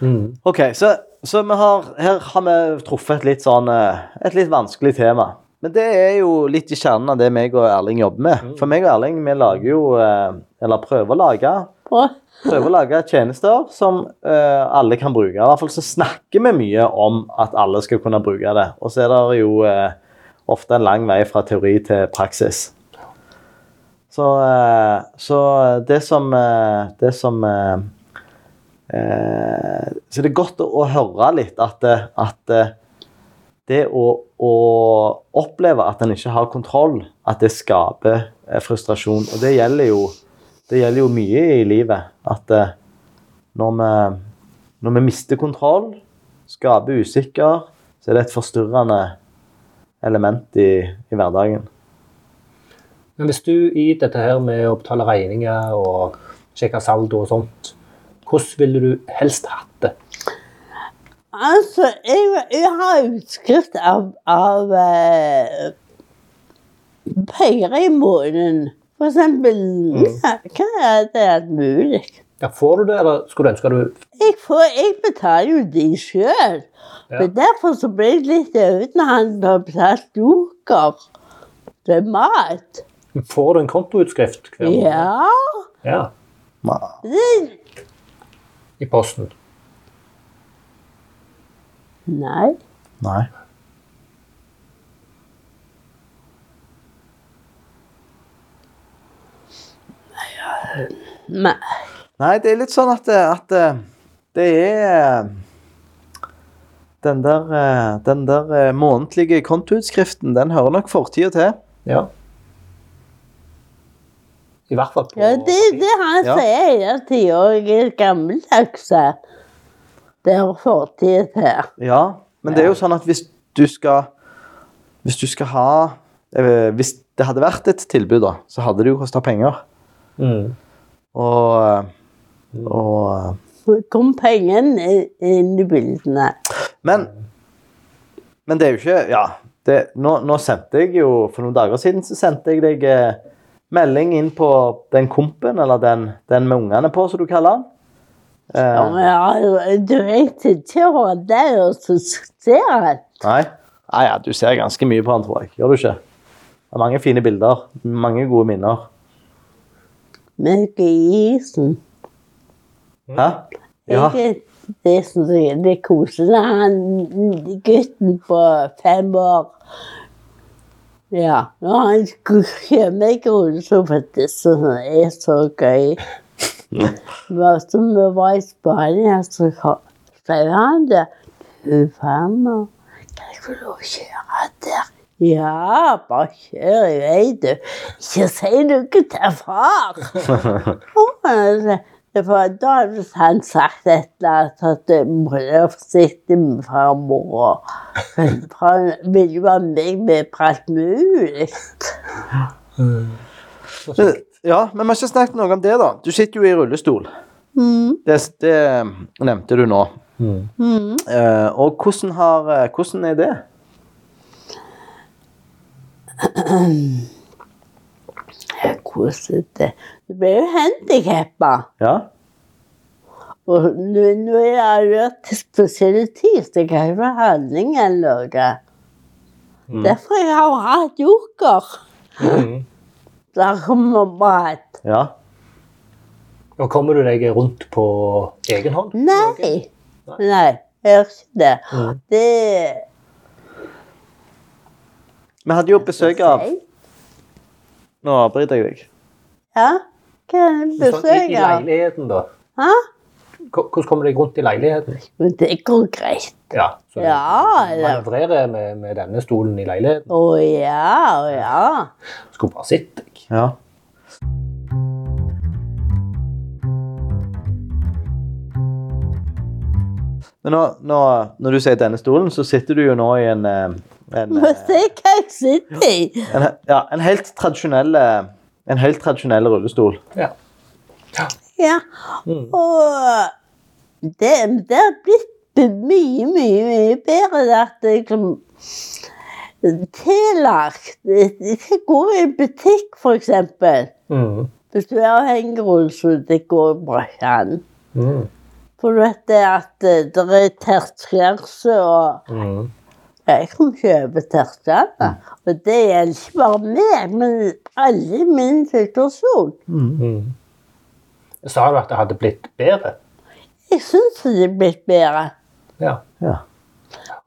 Mm. Ok, så, så vi har, her har vi truffet et litt sånn eh, Et litt vanskelig tema. Men det er jo litt i kjernen av det meg og Erling jobber med. For meg og Erling, vi lager jo eh, Eller prøver å lage Bra. prøver å lage tjenester som eh, alle kan bruke. I hvert fall så snakker vi mye om at alle skal kunne bruke det. Og så er det jo eh, ofte en lang vei fra teori til praksis. Så, eh, så det som eh, Det som eh, eh, Så det er godt å, å høre litt at, eh, at eh, det å, å oppleve at en ikke har kontroll, at det skaper eh, frustrasjon. Og det gjelder jo det gjelder jo mye i livet. At eh, når, vi, når vi mister kontroll, skaper usikker, så er det et forstyrrende element i, i hverdagen. Men hvis du i dette her med å betale regninger og sjekke saldo og sånt, hvordan ville du helst hatt det? Altså, jeg, jeg har utskrift av, av eh, penger i måneden. For eksempel ja, Hva er det alt mulig? Ja, får du det, eller skulle du ønske du Jeg, får, jeg betaler jo de sjøl. Ja. Men derfor så ble jeg litt øvd når han har betalt duker til mat. Får du en kontoutskrift hver måned? Ja. ja. Ma- Det, I posten. nei. Nei. nei. Nei, det er litt sånn at, at det er eh, den der, eh, den der eh, månedlige kontoutskriften, den hører nok fortida til. Ja. I hvert fall på Ja, det er det han Ja. sier hele tida, og jeg er gammeldags. Det har fortid til. Ja, men det er jo sånn at hvis du skal Hvis du skal ha eh, Hvis det hadde vært et tilbud, da, så hadde det jo kosta penger. Mm. Og, og Så kom pengene inn i bildene. Men Men det er jo ikke Ja. Det, nå, nå sendte jeg jo For noen dager siden så sendte jeg deg eh, melding inn på den kompen, eller den, den med ungene på, som du kaller den. Ja, Eh, men ja, du vet ikke hva det er og så ser jeg. nei. Nei, ja, du ser ganske mye på han, tror jeg. Gjør du ikke? Det er mange fine bilder. Mange gode minner. Men ikke isen. Hæ? Ja. Ikke det som er det koselig. Han gutten på fem år Ja, når han kommer meg rundt, så var det så, er så gøy. Men så vi var i Spania, så kom- sa han det. Du farmor, kan jeg få lov å kjøre der? Ja, bare kjør i vei, du. Ikke si noe til far. Ja, Altså, Det var da hadde han sagt et eller annet at jeg må være forsiktig med farmor. og- for Han ville jo ha meg med på alt mulig. Men, ja, men vi har ikke snakket noe om det, da. Du sitter jo i rullestol. Mm. Det, det eh, nevnte du nå. Mm. Mm. Eh, og hvordan, har, eh, hvordan er det? Jeg koset det. Du ble jo handikappa. Ja? Og nå nå er jeg allergisk til spesielle ting, så jeg har ikke behandling eller noe. Derfor jeg har jeg hatt joker. Mm. Der kommer mat. Ja. Og kommer du deg rundt på egen hånd? Nei. Nei, jeg gjør ikke det. Mm. Det Vi hadde jo besøk av Nei. Nå avbryter jeg deg. Ja, kan jeg Sånn, i, I besøke? leiligheten, da. Hæ? Ko- Hvordan kommer du deg rundt i leiligheten? Men det går greit. Ja. Så Ja, du ja. manøvrerer med, med denne stolen i leiligheten. Å ja, å ja. Skulle bare sett deg. Ja. Men nå, nå, når du sier denne stolen, så sitter du jo nå i en eh, en, Må eh, se hva jeg sitter i. en, ja, en helt tradisjonell eh, en helt tradisjonell rullestol. Ja. Ja, Mm. og det, det har blitt be- mye, mye, mye bedre at jeg liksom Tillagt. Det går i butikk, for eksempel. Mm. Hvis du er avhengig av rullestol, det går bare ikke an. Mm. For du vet det at eh, det er terskgrense og Mm. Jeg kan kjøpe terskjerner. Og det gjelder ikke bare meg, men alle i min situasjon. Mm. Sa du at det hadde blitt bedre? Jeg syns det er blitt bedre. Ja. Ja.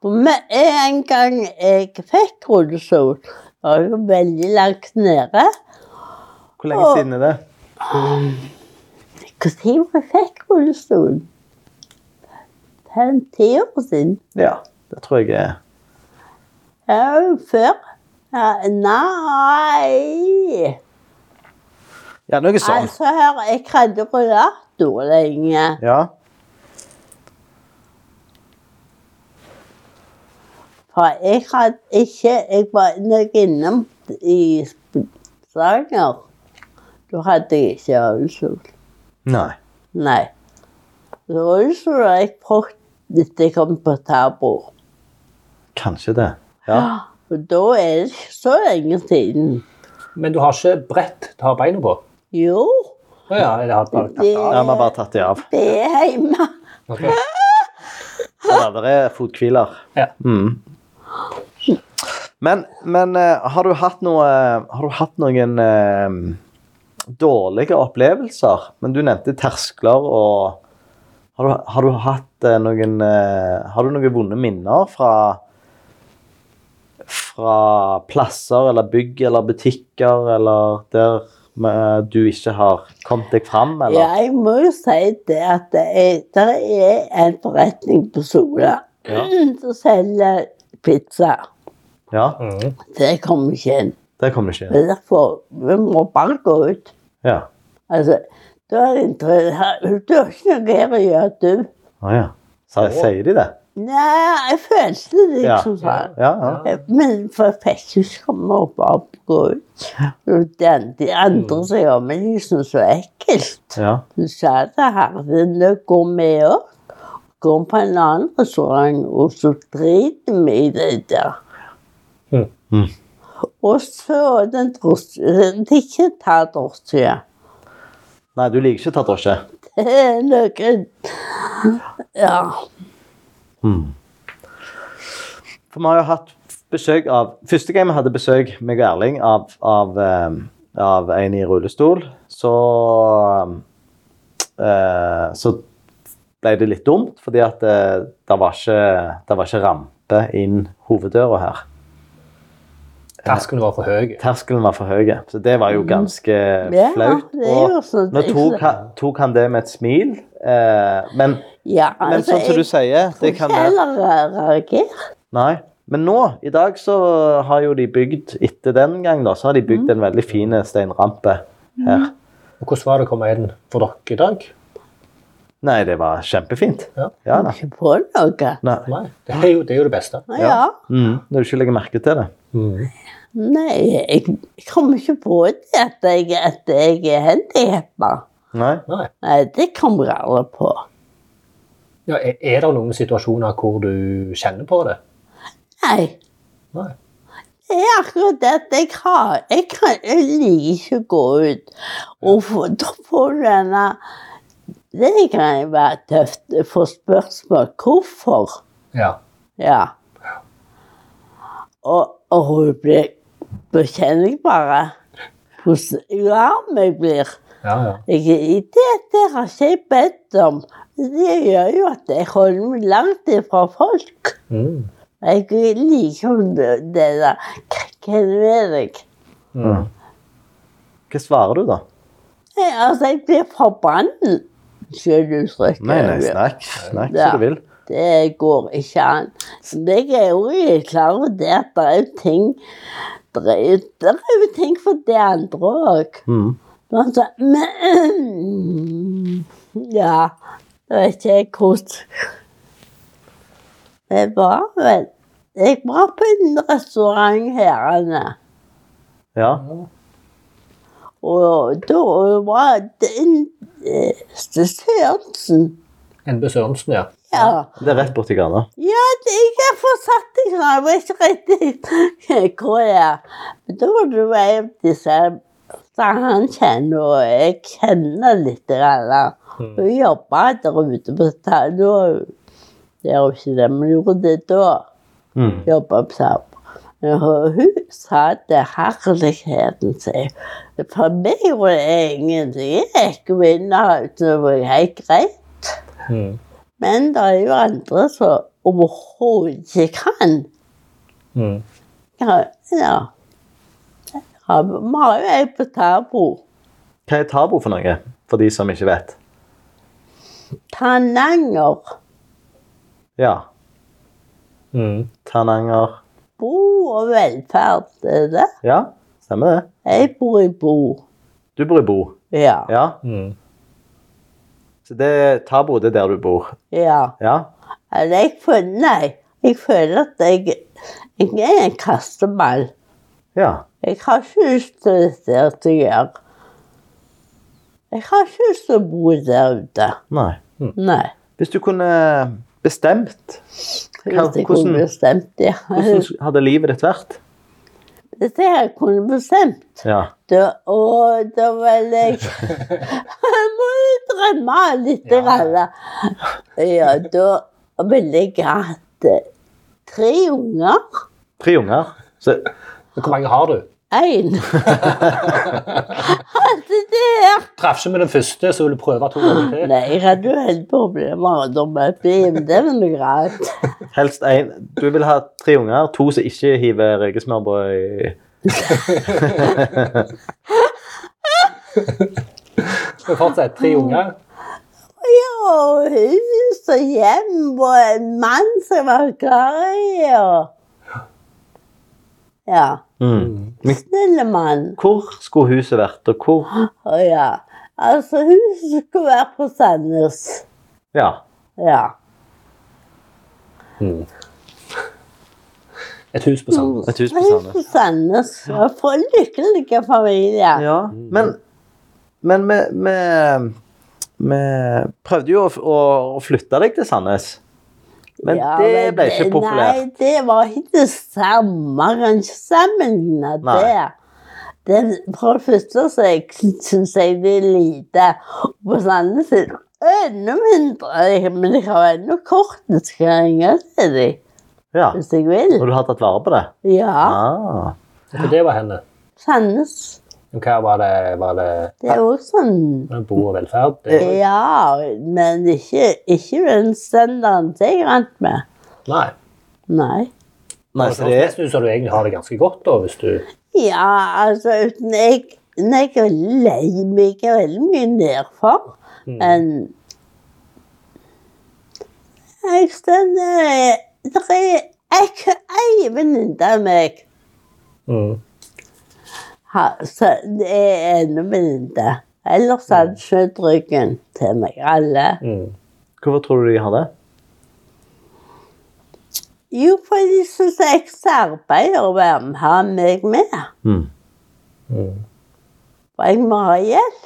For med en gang jeg fikk rullestol, var jeg jo veldig langt nede. Hvor lenge Å. siden er det? Når var jeg fikk rullestol? Fem-ti år siden. Ja, det tror jeg er Ja, før. Ja, nei Ja, noe sånt. Altså, hør, jeg hadde rullator lenge. Ja. For jeg hadde ikke Jeg var nok innom i Stavanger. Da hadde jeg ikke rullestol. Nei. Nei. Rullestol har jeg fått etter jeg kom på Tabor. Kanskje det. Ja. Og da er det ikke så lenge siden. Men du har ikke brett til å ha beina på? Jo, Å ja, jeg har bare... det, Ja, Vi har bare tatt de av. det er hjemme. Ok. Men det er fothviler. Ja. Mm. Men, men eh, har du hatt noe Har du hatt noen eh, dårlige opplevelser? Men du nevnte terskler og Har du, har du hatt eh, noen eh, Har du noen vonde minner fra fra plasser eller bygg eller butikker eller der eh, du ikke har kommet deg fram, Ja, eller? jeg må jo si det at det er, der er en forretning på Sola Ja. som selger pizza. Ja. Mhm. Det kommer ikke inn. Der kom du ikke inn. Det er derfor vi må bare gå ut. Ja. Altså, da er det ikke, her- du har ikke noe her å gjøre, du. Å ja. Sa- Sier de det? Nei, jeg følte det Ja. liksom sånn. Ja, ja. Men for jeg fikk jo ikke komme opp og gå ut. Og den, de Mm. andre som gjør meg liksom så ekkelt. ja. Hun sa det her, ville gå med oss. Gå på en annen restaurant, og så driter vi i det der. Mm. Mm. Og så den drosjen Ikke ta drosje. Nei, du liker ikke å ta drosje. Det er noen Ja. For vi har jo hatt besøk av Første gang vi hadde besøk, meg og Erling, av, av, eh, av en i rullestol, så eh, Så ble det litt dumt, fordi at eh, det var ikke, det var ikke rampe inn hoveddøra her. Terskelen var for høy. Terskelen var for høy, så det var jo ganske Mhm. Ja, flaut. det er jo sånn- nå tok han, tok han det med et smil, eh, men, ja men altså, sånn som du sier, det kan være Jeg eh, tror ikke heller reagere. Nei. Men nå, i dag, så har jo de bygd etter den gang, da, så har de bygd en veldig fin eh, steinrampe her. Og hvordan var det å komme inn for dere i dag? Nei, det var kjempefint. Ja. Ja da. Ikke på noe. Nei. Nei, det er jo det, er jo det beste. Å ja. Mm, når du ikke legger merke til det. Mm. Mhm. Nei, jeg kommer ikke på det at jeg, at jeg er handikappa. Nei. Nei. Nei, det kommer jeg aldri på. Ja, er, er det noen situasjoner hvor du kjenner på det? Nei. Nei. Det er akkurat det at jeg har Jeg, kan, jeg liker ikke å gå ut. Og få- da får du denne Det kan jo være tøft å få spørsmål hvorfor. Ja. Ja. Og, og hun blir Da kjenner jeg bare hvordan varm jeg blir. Ja, ja. Jeg, det, det har ikke jeg bedt om. Det gjør jo at jeg holder meg langt ifra folk. Mm. Mhm. Jeg liker jo det det der Hvem er deg? Mhm. Hva svarer du, da? Nei, Altså, jeg blir forbannet. Selv uttrykk. Nei, nei, snakk. Snakk Ja. som du vil. Det går ikke an. Men Jeg er jo ikke klar over det at det er jo ting Det er jo- det er jo ting for de andre òg. Mm. Altså, men Ja, jeg vet ikke jeg hvordan Det var vel Jeg var på en restaurant herrene, Ja. og da var det en eh, Sørensen. NB Sørensen, ja. Ja. Det er rett borti gata. Ja, det- jeg har forsatt deg sånn. Jeg var ikke riktig hvor jeg er. Men da var det jo en av disse som han kjenner, og jeg kjenner litt. Eller. Hun jobba der ute på Tano. Det er jo ikke det, men gjorde det da. Mm. Jobba på Tano. Og hun sa det herligheten sin. For meg gjorde det ingenting. Jeg gikk jo inn og ut, og det var helt greit. Mm. Mhm. Men det er jo andre som overhodet ikke kan. Mhm. Mm. Ja. ja. Ja, Vi har jo ei på Tabo. Hva er tabu for noe, for de som ikke vet? Tananger. Ja. Mm. Mhm. Tananger. Bo og velferd, det er det. Ja, stemmer det. Jeg bor i Bo. Du bor i Bo. Ja. Ja. Mhm. Så det tabu, det er der du bor. ja. Ja. Eller jeg føler Nei. Jeg føler at jeg, jeg er en kasteball. Ja. Jeg har ikke lyst til dette her til å gjøre. Jeg har ikke lyst til å bo der ute. Nei. Nei. Hvis du kunne bestemt, Jeg vet ikke hvordan- hvordan bestemt det. hvordan hadde livet ditt vært? Dette her kunne bestemt. Ja. Da, å, da vil jeg Jeg må jo drømme litt. Ja. Ja, ja da ville jeg hatt eh, tre unger. Tre unger. Så, Men hvor mange har du? Én. Hadde det her Traff ikke med den første, så vil du prøve to ganger til. Nei, jeg hadde jo helt problemer da med bil. Det var noe greit. helst en. Du vil ha tre unger, to som ikke hiver rekesmørbrød i Men fortsett. Tre unger. Ja, og hus og hjem og en mann som var glad i og Ja. mm. Snille mann. Hvor skulle huset vært, og hvor Å ja. Altså, huset skulle være på Sandnes. Ja. Ja. Et hus på Sandnes. Et hus på Hus Sandnes. på Sandnes. Og for lykkelige familier. Ja, men Men vi vi- vi prøvde jo å, f- å, å flytte deg til Sandnes. Men Ja, det ble men ikke det- populært. Nei, det var ikke det samme. Kan ikke sammenligne Nei. det. Den, for det første så jeg syns jeg det er lite. Og på Sandnes er det enda mindre. Men jeg har ennå kortet skal jeg ringe til dem Ja. hvis jeg vil. Og du har tatt vare på det? Ja. Ah. Hvor det var henne? Sandnes. Hva var det? Var det Det er jo sånn bo og velferd? Det Eh. var- Ja, men ikke, ikke den standarden jeg rant med. Nei. Nei. Nei, Altså, så det er nesten så du egentlig har det ganske godt, da, hvis du Ja, altså uten jeg, når jeg er veldig lei meg jeg er veldig mye nedfor, men Jeg stender Det er ikke ei venninne av meg mm. ha- så Det er en venninne. Ellers hadde hun skjøt ryggen til meg, alle. Mm. Hvorfor tror du de har det? Jo, for de syns det er ekstra arbeid å være med, ha meg med. Mm. For jeg må ha hjelp.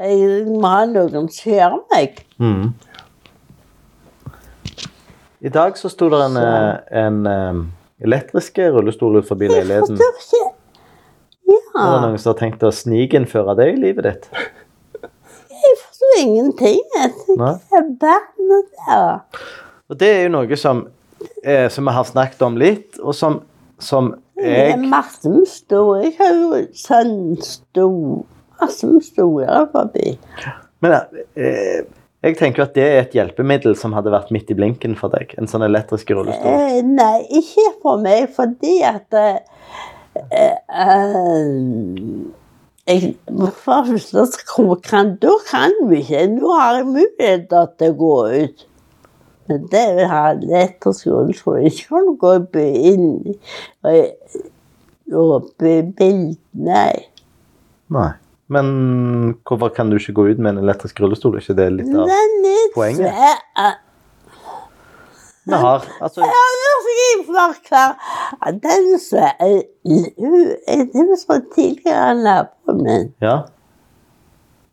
Jeg må ha noen som gjør meg. Mm. I dag så sto det en, eh, en eh, elektrisk rullestol ut forbi Jeg leiligheten. forstår ikke Ja, Er det noen som har tenkt å snikinnføre det i livet ditt? jeg forstår ingenting. Jeg Nei. tenker, Hva verden er det der? Og det er jo noe som, eh, som vi har snakket om litt, og som, som Det er jeg masse med store. Jeg har jo sånn stor Masse med store forbi. Men eh, jeg tenker jo at det er et hjelpemiddel som hadde vært midt i blinken for deg. En sånn elektrisk rullestol. Eh, nei, ikke for meg, fordi at eh, eh, jeg, For det første så kan- kan Da kan vi ikke. Nå har jeg muligheter til å gå ut. Men det vil ha lett å skole, så jeg ikke kan gå i by- inn og, og bli bild. Nei. Nei. Men hvorfor kan du ikke gå ut med en elektrisk rullestol? Er ikke det litt av Den er Poenget. svær. Vi har altså, Ja, nå skal jeg forklare. Den er svær. Det var sånn tidligere naboen min. Ja.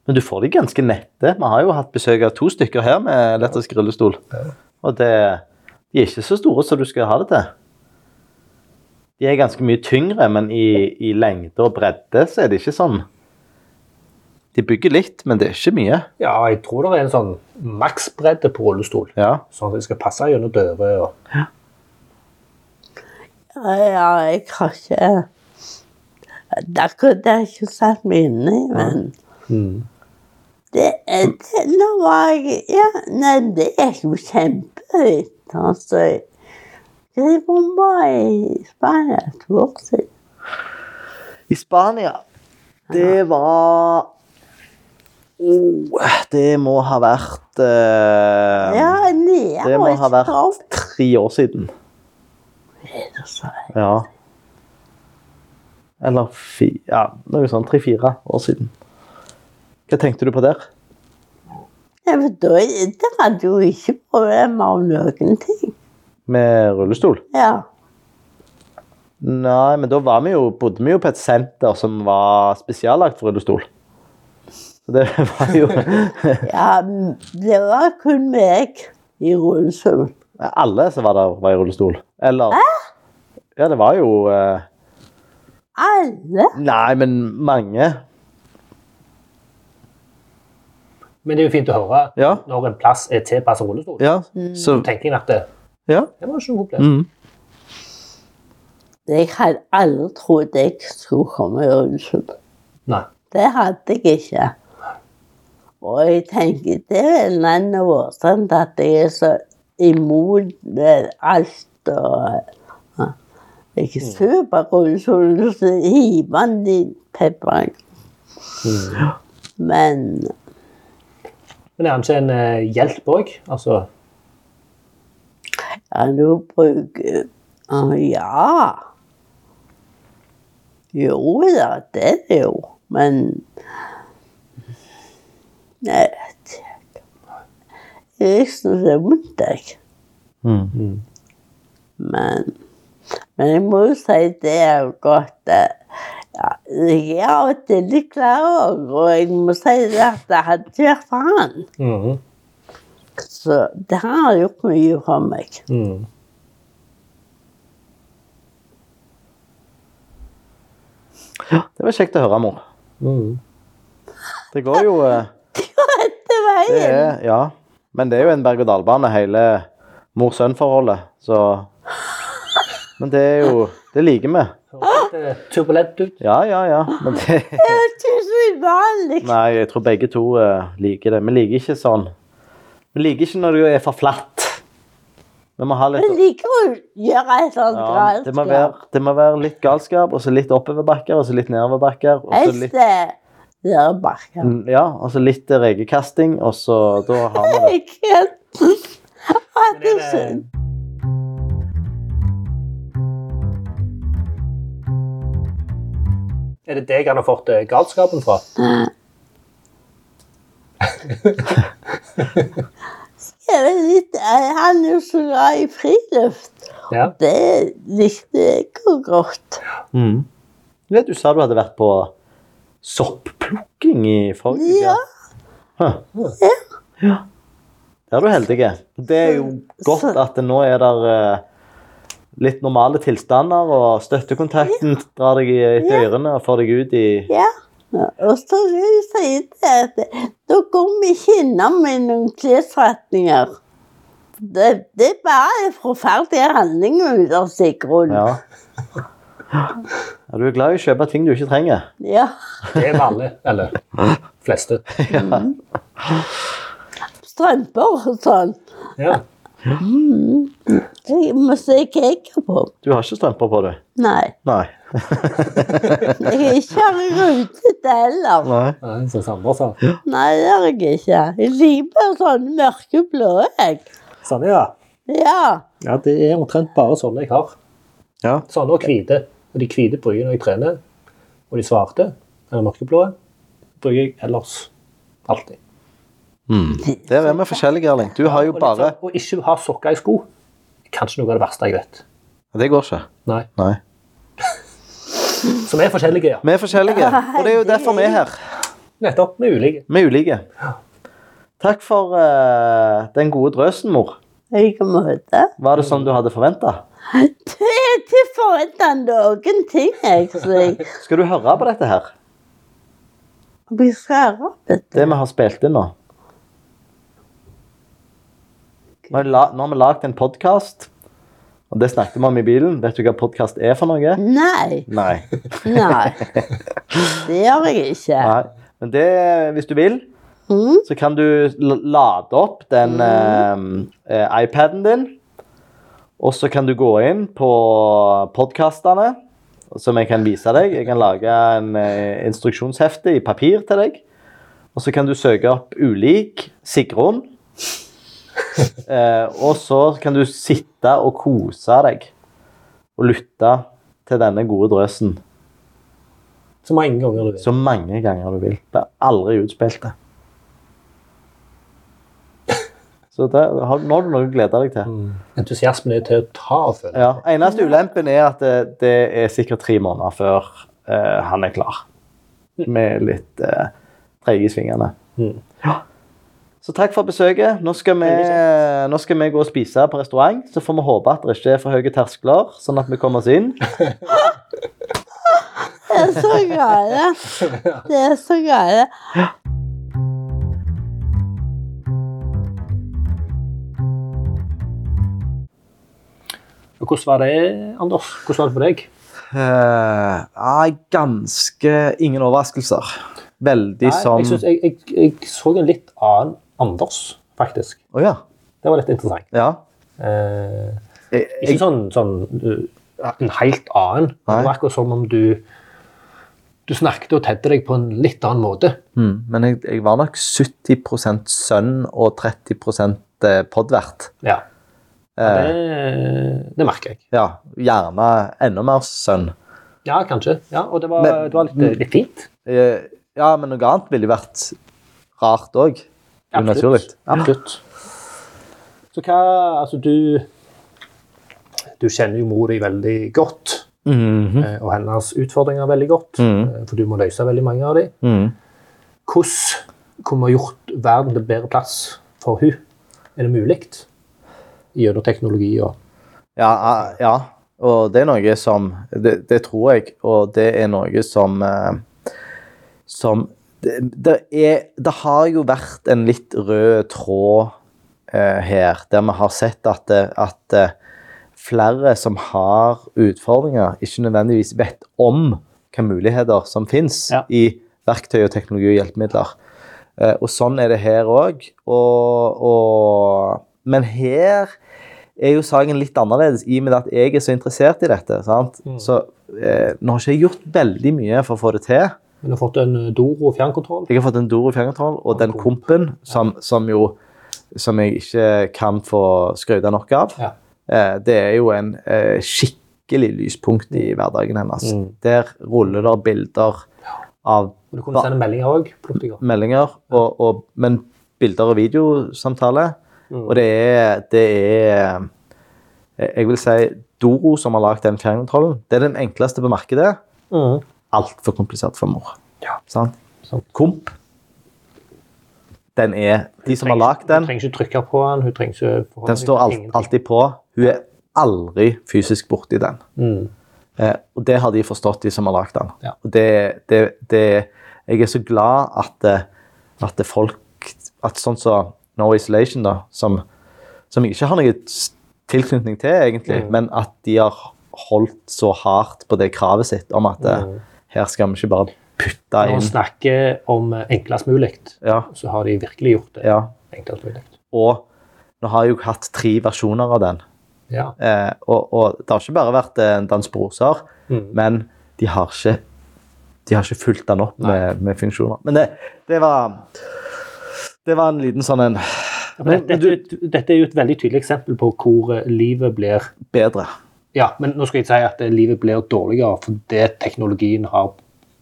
Men du får de ganske nette. Vi har jo hatt besøk av to stykker her med elektrisk rullestol. Og det, de er ikke så store som du skal ha det til. De er ganske mye tyngre, men i, i lengde og bredde så er det ikke sånn. De bygger litt, men det er ikke mye. Ja, jeg tror det er en sånn maksbredde på rullestol. Ja. Sånn at de skal passe gjennom dører og Ja, ja, jeg har ikke Det er ikke- det er ikke satt meg inn i, men Mm. det, er- det, Nå var jeg Ja, nei, det er jo kjempehøyt. Altså Jeg var i Spania to år siden. I Spania Det var Åh, Det må ha vært eh, Ja, nye Det må ha vært år. tre år siden. altså. Ja. Eller fi, ja, noe sånn tre-fire år siden. Hva tenkte du på der? Ja, for da der hadde jo ikke problemer om noen ting. Med rullestol? Ja. Nei, men da var vi jo, bodde vi jo på et senter som var spesiallagt for rullestol. Så det var jo Ja, m- det var kun meg i rullestol. Alle som var der, var i rullestol. Eller Ja, det var jo eh, Alle? Nei, men mange. Men det er jo fint å høre Ja. når en plass er tilpasset rullestol. Ja, så Så tenker jeg at det, Ja. det var ikke noe problem. Mm. Jeg hadde aldri trodd jeg skulle komme i rullestol. Nei. Det hadde jeg ikke. Og jeg tenker det er en annen årsak til at jeg er så imot med alt og ja. Jeg er superrullestol, så hiver man i pepperen. Men Men det er kanskje en eh, hjelp òg. Altså, ja, nå bruker Å, Ja. Jo da, det er det jo. Men Nei, jeg vet ikke. Jeg syns det er vondt, jeg. Mm. Men, men jeg må jo si det er jo godt eh, ja, Jeg er av og til litt klar over, og jeg må si det at det hadde ikke vært for han. mhm, Så det har gjort mye for meg. mhm. Det var kjekt å høre, mor. Mhm. Det går jo eh, Dette Det veien! er Ja. Men det er jo en berg-og-dal-bane, hele mor-sønn-forholdet, så Men det er jo Det liker vi. Høres litt eh, turbulent ut. Ja, ja, ja. Men det Det er ikke så uvanlig. Nei, jeg tror begge to eh, liker det. Vi liker ikke sånn. Vi liker ikke når det er for flatt. Vi må ha Jeg litt liker å gjøre et eller annet ja, det, må være, det må være litt galskap, og så litt oppoverbakker, og så litt nedoverbakker. Og så litt, Helst eh, det der bakken. Mm, ja, og så litt eh, rekekasting, og så Da har vi det. Jeg kan Men er det- Er det deg han har fått eh, galskapen fra? Jeg vet litt, eh, Han er jo så glad i friluft. Ja. Det likte jeg jo godt. Mm. Du vet, du sa du hadde vært på soppplukking i forrige Ja. Huh. Ja. Der er du heldig. Det er jo godt at det nå er der eh, litt normale tilstander, og støttekontakten drar deg i etter ørene og får deg ut i Ja. Og så vil jeg si det at da går vi ikke innom i noen klesretninger. Det, det er bare forferdelige handlinger ut av Sigrun. Ja. Ja, Du er glad i å kjøpe ting du ikke trenger. Ja. Det er vanlig. Eller fleste. Strømper og sånn. Ja. Jeg må se hva jeg har på. Du har ikke strømper på, du? Nei. Nei. Jeg er ikke rutete heller. Nei. Nei, som sånn. Sandra sa. Nei, det er jeg ikke. Jeg liker sånne mørkeblå, jeg. Sånn, ja. Ja. ja, det er omtrent bare sånne jeg har. Ja. Sånne og hvite. Og de hvite bruker jeg når jeg trener. Og de svarte, eller mørkeblå, bruker jeg ellers alltid. Der er vi forskjellige, Erling. Du har jo Og litt bare sånn, Å ikke ha sokker i sko kanskje noe av det verste jeg vet. Det går ikke. Nei. Nei. Som er forskjellige, ja. Vi er forskjellige, og det er jo derfor vi er her. Nettopp. Vi er ulike. Vi er ulike. Takk for eh, den gode drøsen, mor. I like måte. Var det som du hadde forventa? Det er ikke forventa noen ting, jeg. Så jeg Skal du høre på dette her? vi skal høre opp et Det vi har spilt inn nå. Vi har la- Nå har vi lagd en podkast, og det snakket vi om i bilen. Vet du hva podkast er for Mm. noe? Nei. Nei. Nei. Det gjør jeg ikke. Nei. Men det, hvis du vil, Mm. så kan du l- lade opp den eh, eh, iPaden din. Og så kan du gå inn på podkastene, som jeg kan vise deg. Jeg kan lage en eh, instruksjonshefte i papir til deg. Og så kan du søke opp ulik Sigrun. Eh, og så kan du sitte og kose deg og lytte til denne gode drøsen Så mange ganger du vil. så mange ganger du vil. Det er aldri utspilt, det. Så det, har, nå har du noe å glede deg til. Entusiasmen er til å ta av, føler jeg. Ja, Eneste ulempen er at det, det er sikkert tre måneder før eh, han er klar. Med litt uh, treige i svingene. Mm. Ja. Så takk for besøket. Nå skal, vi, nå skal vi gå og spise på restaurant. Så får vi håpe at det ikke er for høye terskler, sånn at vi kommer oss inn. Det er så gale. Det er så gale. Og Hvordan var det, Anders? Hvordan var det for deg? Eh, nei, ganske ingen overraskelser. Veldig sånn jeg, synes, jeg, jeg, jeg så en litt annen Anders, faktisk. Å ja. Det var litt interessant. ja. Eh, Jeg, ikke jeg, sånn, sånn uh, en helt annen. Nei. Det var akkurat som om du du snakket og tedde deg på en litt annen måte. mm, men jeg, jeg var nok 70 sønn og 30 podvert. Ja, Eh, det, det merker jeg. ja, gjerne enda mer sønn. Ja, kanskje. Ja, og det var, Men- det var litt, litt fint. Eh, ja, men noe annet ville jo vært rart òg. Absolutt. Unaturlig. Absolutt. Så hva Altså, du Du kjenner jo mor di veldig godt, Mhm. eh, og hennes utfordringer veldig godt, Mhm. eh, for du må løse veldig mange av dem. Mhm. Hvordan kunne vi gjort verden til en bedre plass for hun? Er det mulig? Gjennom teknologi og Ja, ja, eh, ja. Og det er noe som det, det tror jeg, og det er noe som eh, Som det, det er Det har jo vært en litt rød tråd eh, her, der vi har sett at, eh, at eh, flere som har utfordringer, ikke nødvendigvis vet om hvilke muligheter som fins Ja. i verktøy og teknologi og hjelpemidler. Eh, Og sånn er det her òg. Og, og, men her er jo saken litt annerledes, i og med at jeg er så interessert i dette. sant? Mm. Så eh, nå har ikke jeg gjort veldig mye for å få det til. Men du har fått en eh, Doro fjernkontroll. Jeg har fått en Doro fjernkontroll og den Og komp. kompen som, som jo som jeg ikke kan få skryte nok av. Ja. Eh, det er jo en eh, skikkelig lyspunkt i hverdagen hennes. Mm. Der ruller der bilder av Og du kunne sende meldinger òg. meldinger, og, og, men bilder og videosamtale. Mm. Og det er, det er eh, Jeg vil si Doro som har lagd den fjernkontrollen. Det er den enkleste på markedet. Mm. Altfor komplisert for mor. Ja. Sant? Sant. Komp. Den er De som har lagd Hun den, trenger ikke trykke på den. Hun trenger ikke forholde den seg står til alt, ingenting. alltid på. Hun er aldri fysisk borti den. Mm. Eh, og det har de forstått, de som har lagd den. Ja. Og det, det, det, jeg er så glad at, eh, at det folk at Sånn som No Isolation, da, som, som jeg ikke har noen s- tilknytning til, egentlig, Mm. men at de har holdt så hardt på det kravet sitt om at eh, Mm. her skal vi ikke bare putte Når man inn snakker om eh, enklest mulig, ja, så har de virkelig gjort det. ja. enklest mulig. Og nå har jeg jo hatt tre versjoner av den. Ja. Eh, og, og det har ikke bare vært eh, en dans på roser, Mm. men de har ikke de har ikke fulgt den opp med, med funksjoner. Men det, det var Det var en liten sånn en Men dette, er jo et- dette er jo et veldig tydelig eksempel på hvor eh, livet blir bedre. Ja, men nå skal jeg ikke si at eh, livet blir dårligere fordi teknologien har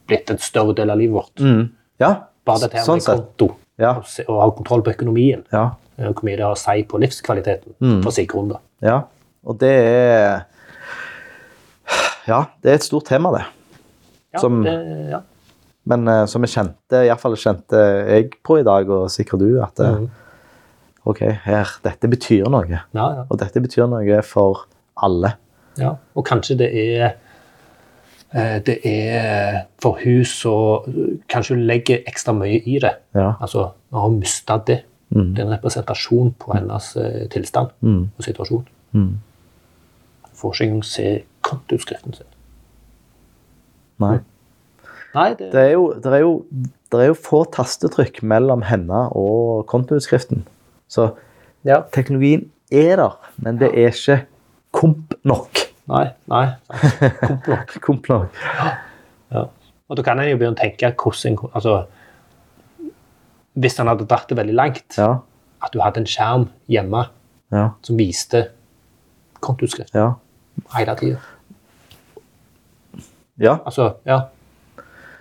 blitt en større del av livet vårt. Mm. Ja. Bare dette her sånn med sett. konto Ja. og se- og ha kontroll på økonomien. ja. eh, Hvor mye det har å si på livskvaliteten Mm. for Sigrun. da. Ja. Og det er Ja, det er et stort tema, det. Ja, Som- det, ja. Men eh, som jeg kjente, iallfall kjente jeg på i dag, og sikkert du, at eh, Mm. OK, her, dette betyr noe. Ja, ja. Og dette betyr noe for alle. Ja, og kanskje det er eh, det er for hun så Kanskje hun legger ekstra mye i det. Ja. Altså, Når hun mista det. Mm. Det er en representasjon på hennes eh, tilstand Mm. og situasjon. Mm. Får ikke engang se kontoutskriften sin. Nei. Nei, det, Det er jo, det er jo, det er jo få tastetrykk mellom henne og kontoutskriften. Så ja. teknologien er der, men det er ikke komp nok. Nei. nei. Komp nok. Komp nok. Ja. Og da kan en jo begynne å tenke hvordan altså, Hvis en hadde dratt det veldig langt, Ja, at du hadde en skjerm hjemme ja, som viste kontoutskrift ja. hele tida Ja, Altså, ja.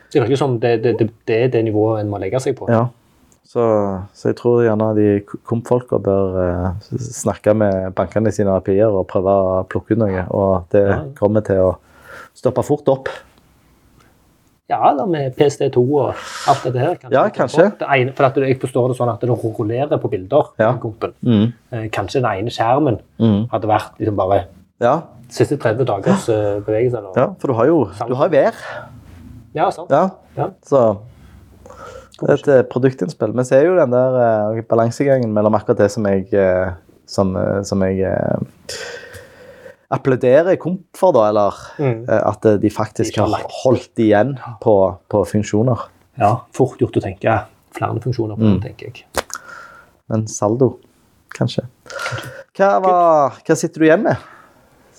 Så Det virker som det, det, det, det er det nivået en må legge seg på. ja. Så, så jeg tror gjerne de komp-folka bør eh, s- snakke med bankene sine API-er og prøve å plukke ut noe. Og det Ja. kommer til å stoppe fort opp. Ja, da med PST2 og alt dette her. Kanskje Ja, kanskje. Det ene, for at jeg forstår det sånn at det rullerer på bilder. Ja. den klumpen. Mm. Eh, Kanskje den ene skjermen Mm. hadde vært liksom bare Ja, siste 30 dagers eh, bevegelse. Eller? ja, for du har jo du har vær. Ja, sant. Ja. Ja. Så det er et eh, produktinnspill. Men så er jo den der eh, balansegangen mellom akkurat det som jeg eh, som, eh, som jeg eh, applauderer komp for, da, eller Mm. eh, at eh, de faktisk Ikke har har lagt. holdt igjen på, på funksjoner. Ja, fort gjort å tenke flere funksjoner Mm. på den, tenker jeg. Men saldo, kanskje. Hva, var, hva sitter du igjen med?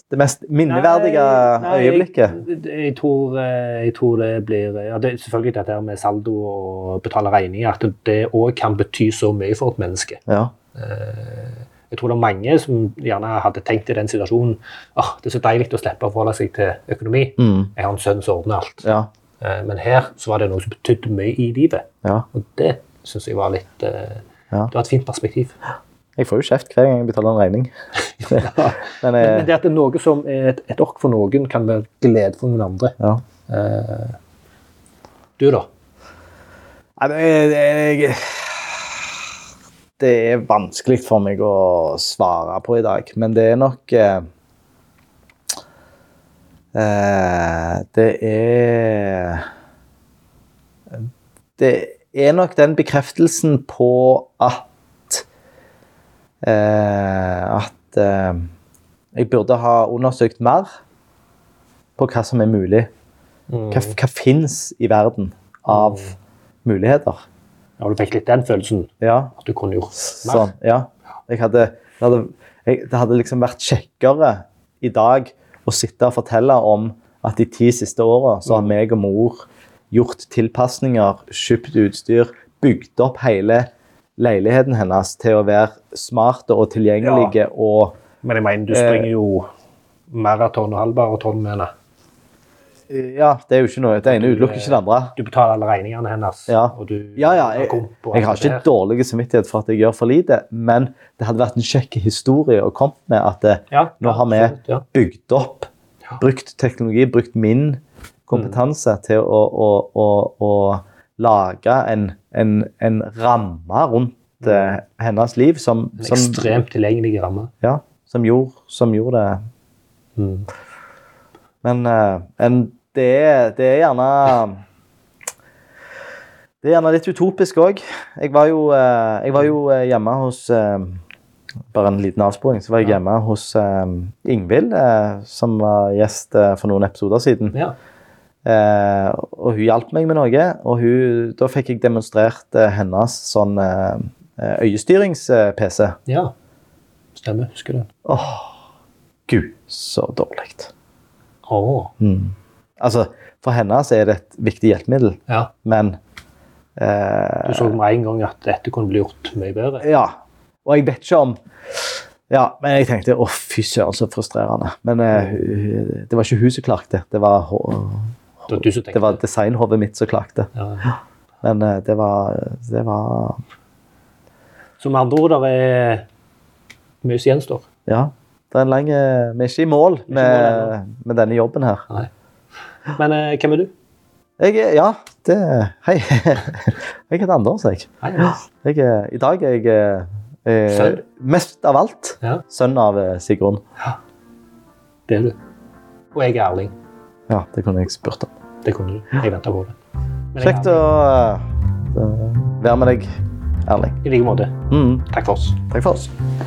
Det mest minneverdige Nei, nei, øyeblikket? Jeg, jeg, tror, eh, jeg tror det blir ja, det er Selvfølgelig dette her med saldo og betale regninger, at det òg kan bety så mye for et menneske. Ja. Jeg tror det er mange som gjerne hadde tenkt i den situasjonen åh, det er så deilig å slippe å forholde seg til økonomi. Mm. Jeg har en sønn som ordner alt. Ja. Eh, Men her så var det noe som betydde mye i livet. ja. Og det syns jeg var litt eh, Ja. Det var et fint perspektiv. Jeg får jo kjeft hver gang jeg betaler en regning. Men eh, Men jeg, det at det er noe som er et, et ork for noen, kan være glede for noen andre. ja. Eh, du, da? Nei, men jeg, jeg Det er vanskelig for meg å svare på i dag, men det er nok eh, eh, Det er Det er nok den bekreftelsen på at eh, At eh, jeg burde ha undersøkt mer på hva som er mulig. Hva, hva fins i verden av muligheter? Ja, du fikk litt den følelsen Ja, at du kunne gjort mer? sånn. Ja. Jeg hadde, det, hadde, jeg, det hadde liksom vært kjekkere i dag å sitte og fortelle om at de ti siste åra så har meg og mor gjort tilpasninger, kjøpt utstyr, bygd opp hele leiligheten hennes til å være smarte og tilgjengelige og Men jeg mener, du springer Eh. jo maraton og halvmaraton med henne. Ja, det er jo ikke noe. Det ene utelukker ikke det andre. Du betaler alle regningene hennes. Ja. Og du Ja, ja, jeg, komp og jeg har alt det ikke her. dårlig samvittighet for at jeg gjør for lite, men det hadde vært en kjekk historie å komme med at eh, Ja, nå har vi absolutt, ja. bygd opp, Ja. Mm. brukt teknologi, brukt min kompetanse til å, å, å, å lage en, en, en ramme rundt eh, hennes liv som, Mm. En som, ekstremt tilgjengelig ramme. ja, som, gjorde, som gjorde det. Mm. Men eh, en, det, er, det er gjerne Det er gjerne litt utopisk òg. Jeg var jo, eh, jeg var jo eh, hjemme hos eh, Bare en liten avsporing. Så var jeg hjemme hos eh, Ingvild, eh, som var gjest eh, for noen episoder siden. Ja. Eh, og hun hjalp meg med noe, og hun, da fikk jeg demonstrert eh, hennes sånn eh, øyestyrings-PC. ja. Stemmer. Husker du? Åh, gud, så dårlig. Å. Mm. Altså, for henne så er det et viktig hjelpemiddel, Ja. men Du eh, så med en gang at dette kunne bli gjort mye bedre. Ja. Og jeg vet ikke om Ja, men jeg tenkte å, fy søren, så frustrerende. Men eh, hun- det var ikke hun som klagde, det var, hå- Det var du som det tenkte. var designhodet mitt som klagde. Ja. Men eh, det var, det var Så med andre ord, det er mye som gjenstår. Ja. Det er en lang eh, Vi er ikke i mål Vi er ikke i mål med, med denne jobben her. Nei. Men eh, hvem er du? Jeg er Ja, det Hei. Jeg heter Anders, jeg. Hei, Anders. jeg er, I dag er jeg eh, Sønn? mest av alt Ja. sønn av eh, Sigrun. Det er du. Og jeg er Erling. Ja, det kunne jeg spurt om. Det kunne du. Jeg venta på det. Men jeg er Kjekt å eh, være med deg, Erling. Erling. I like måte. Mm, Takk for oss. takk for oss.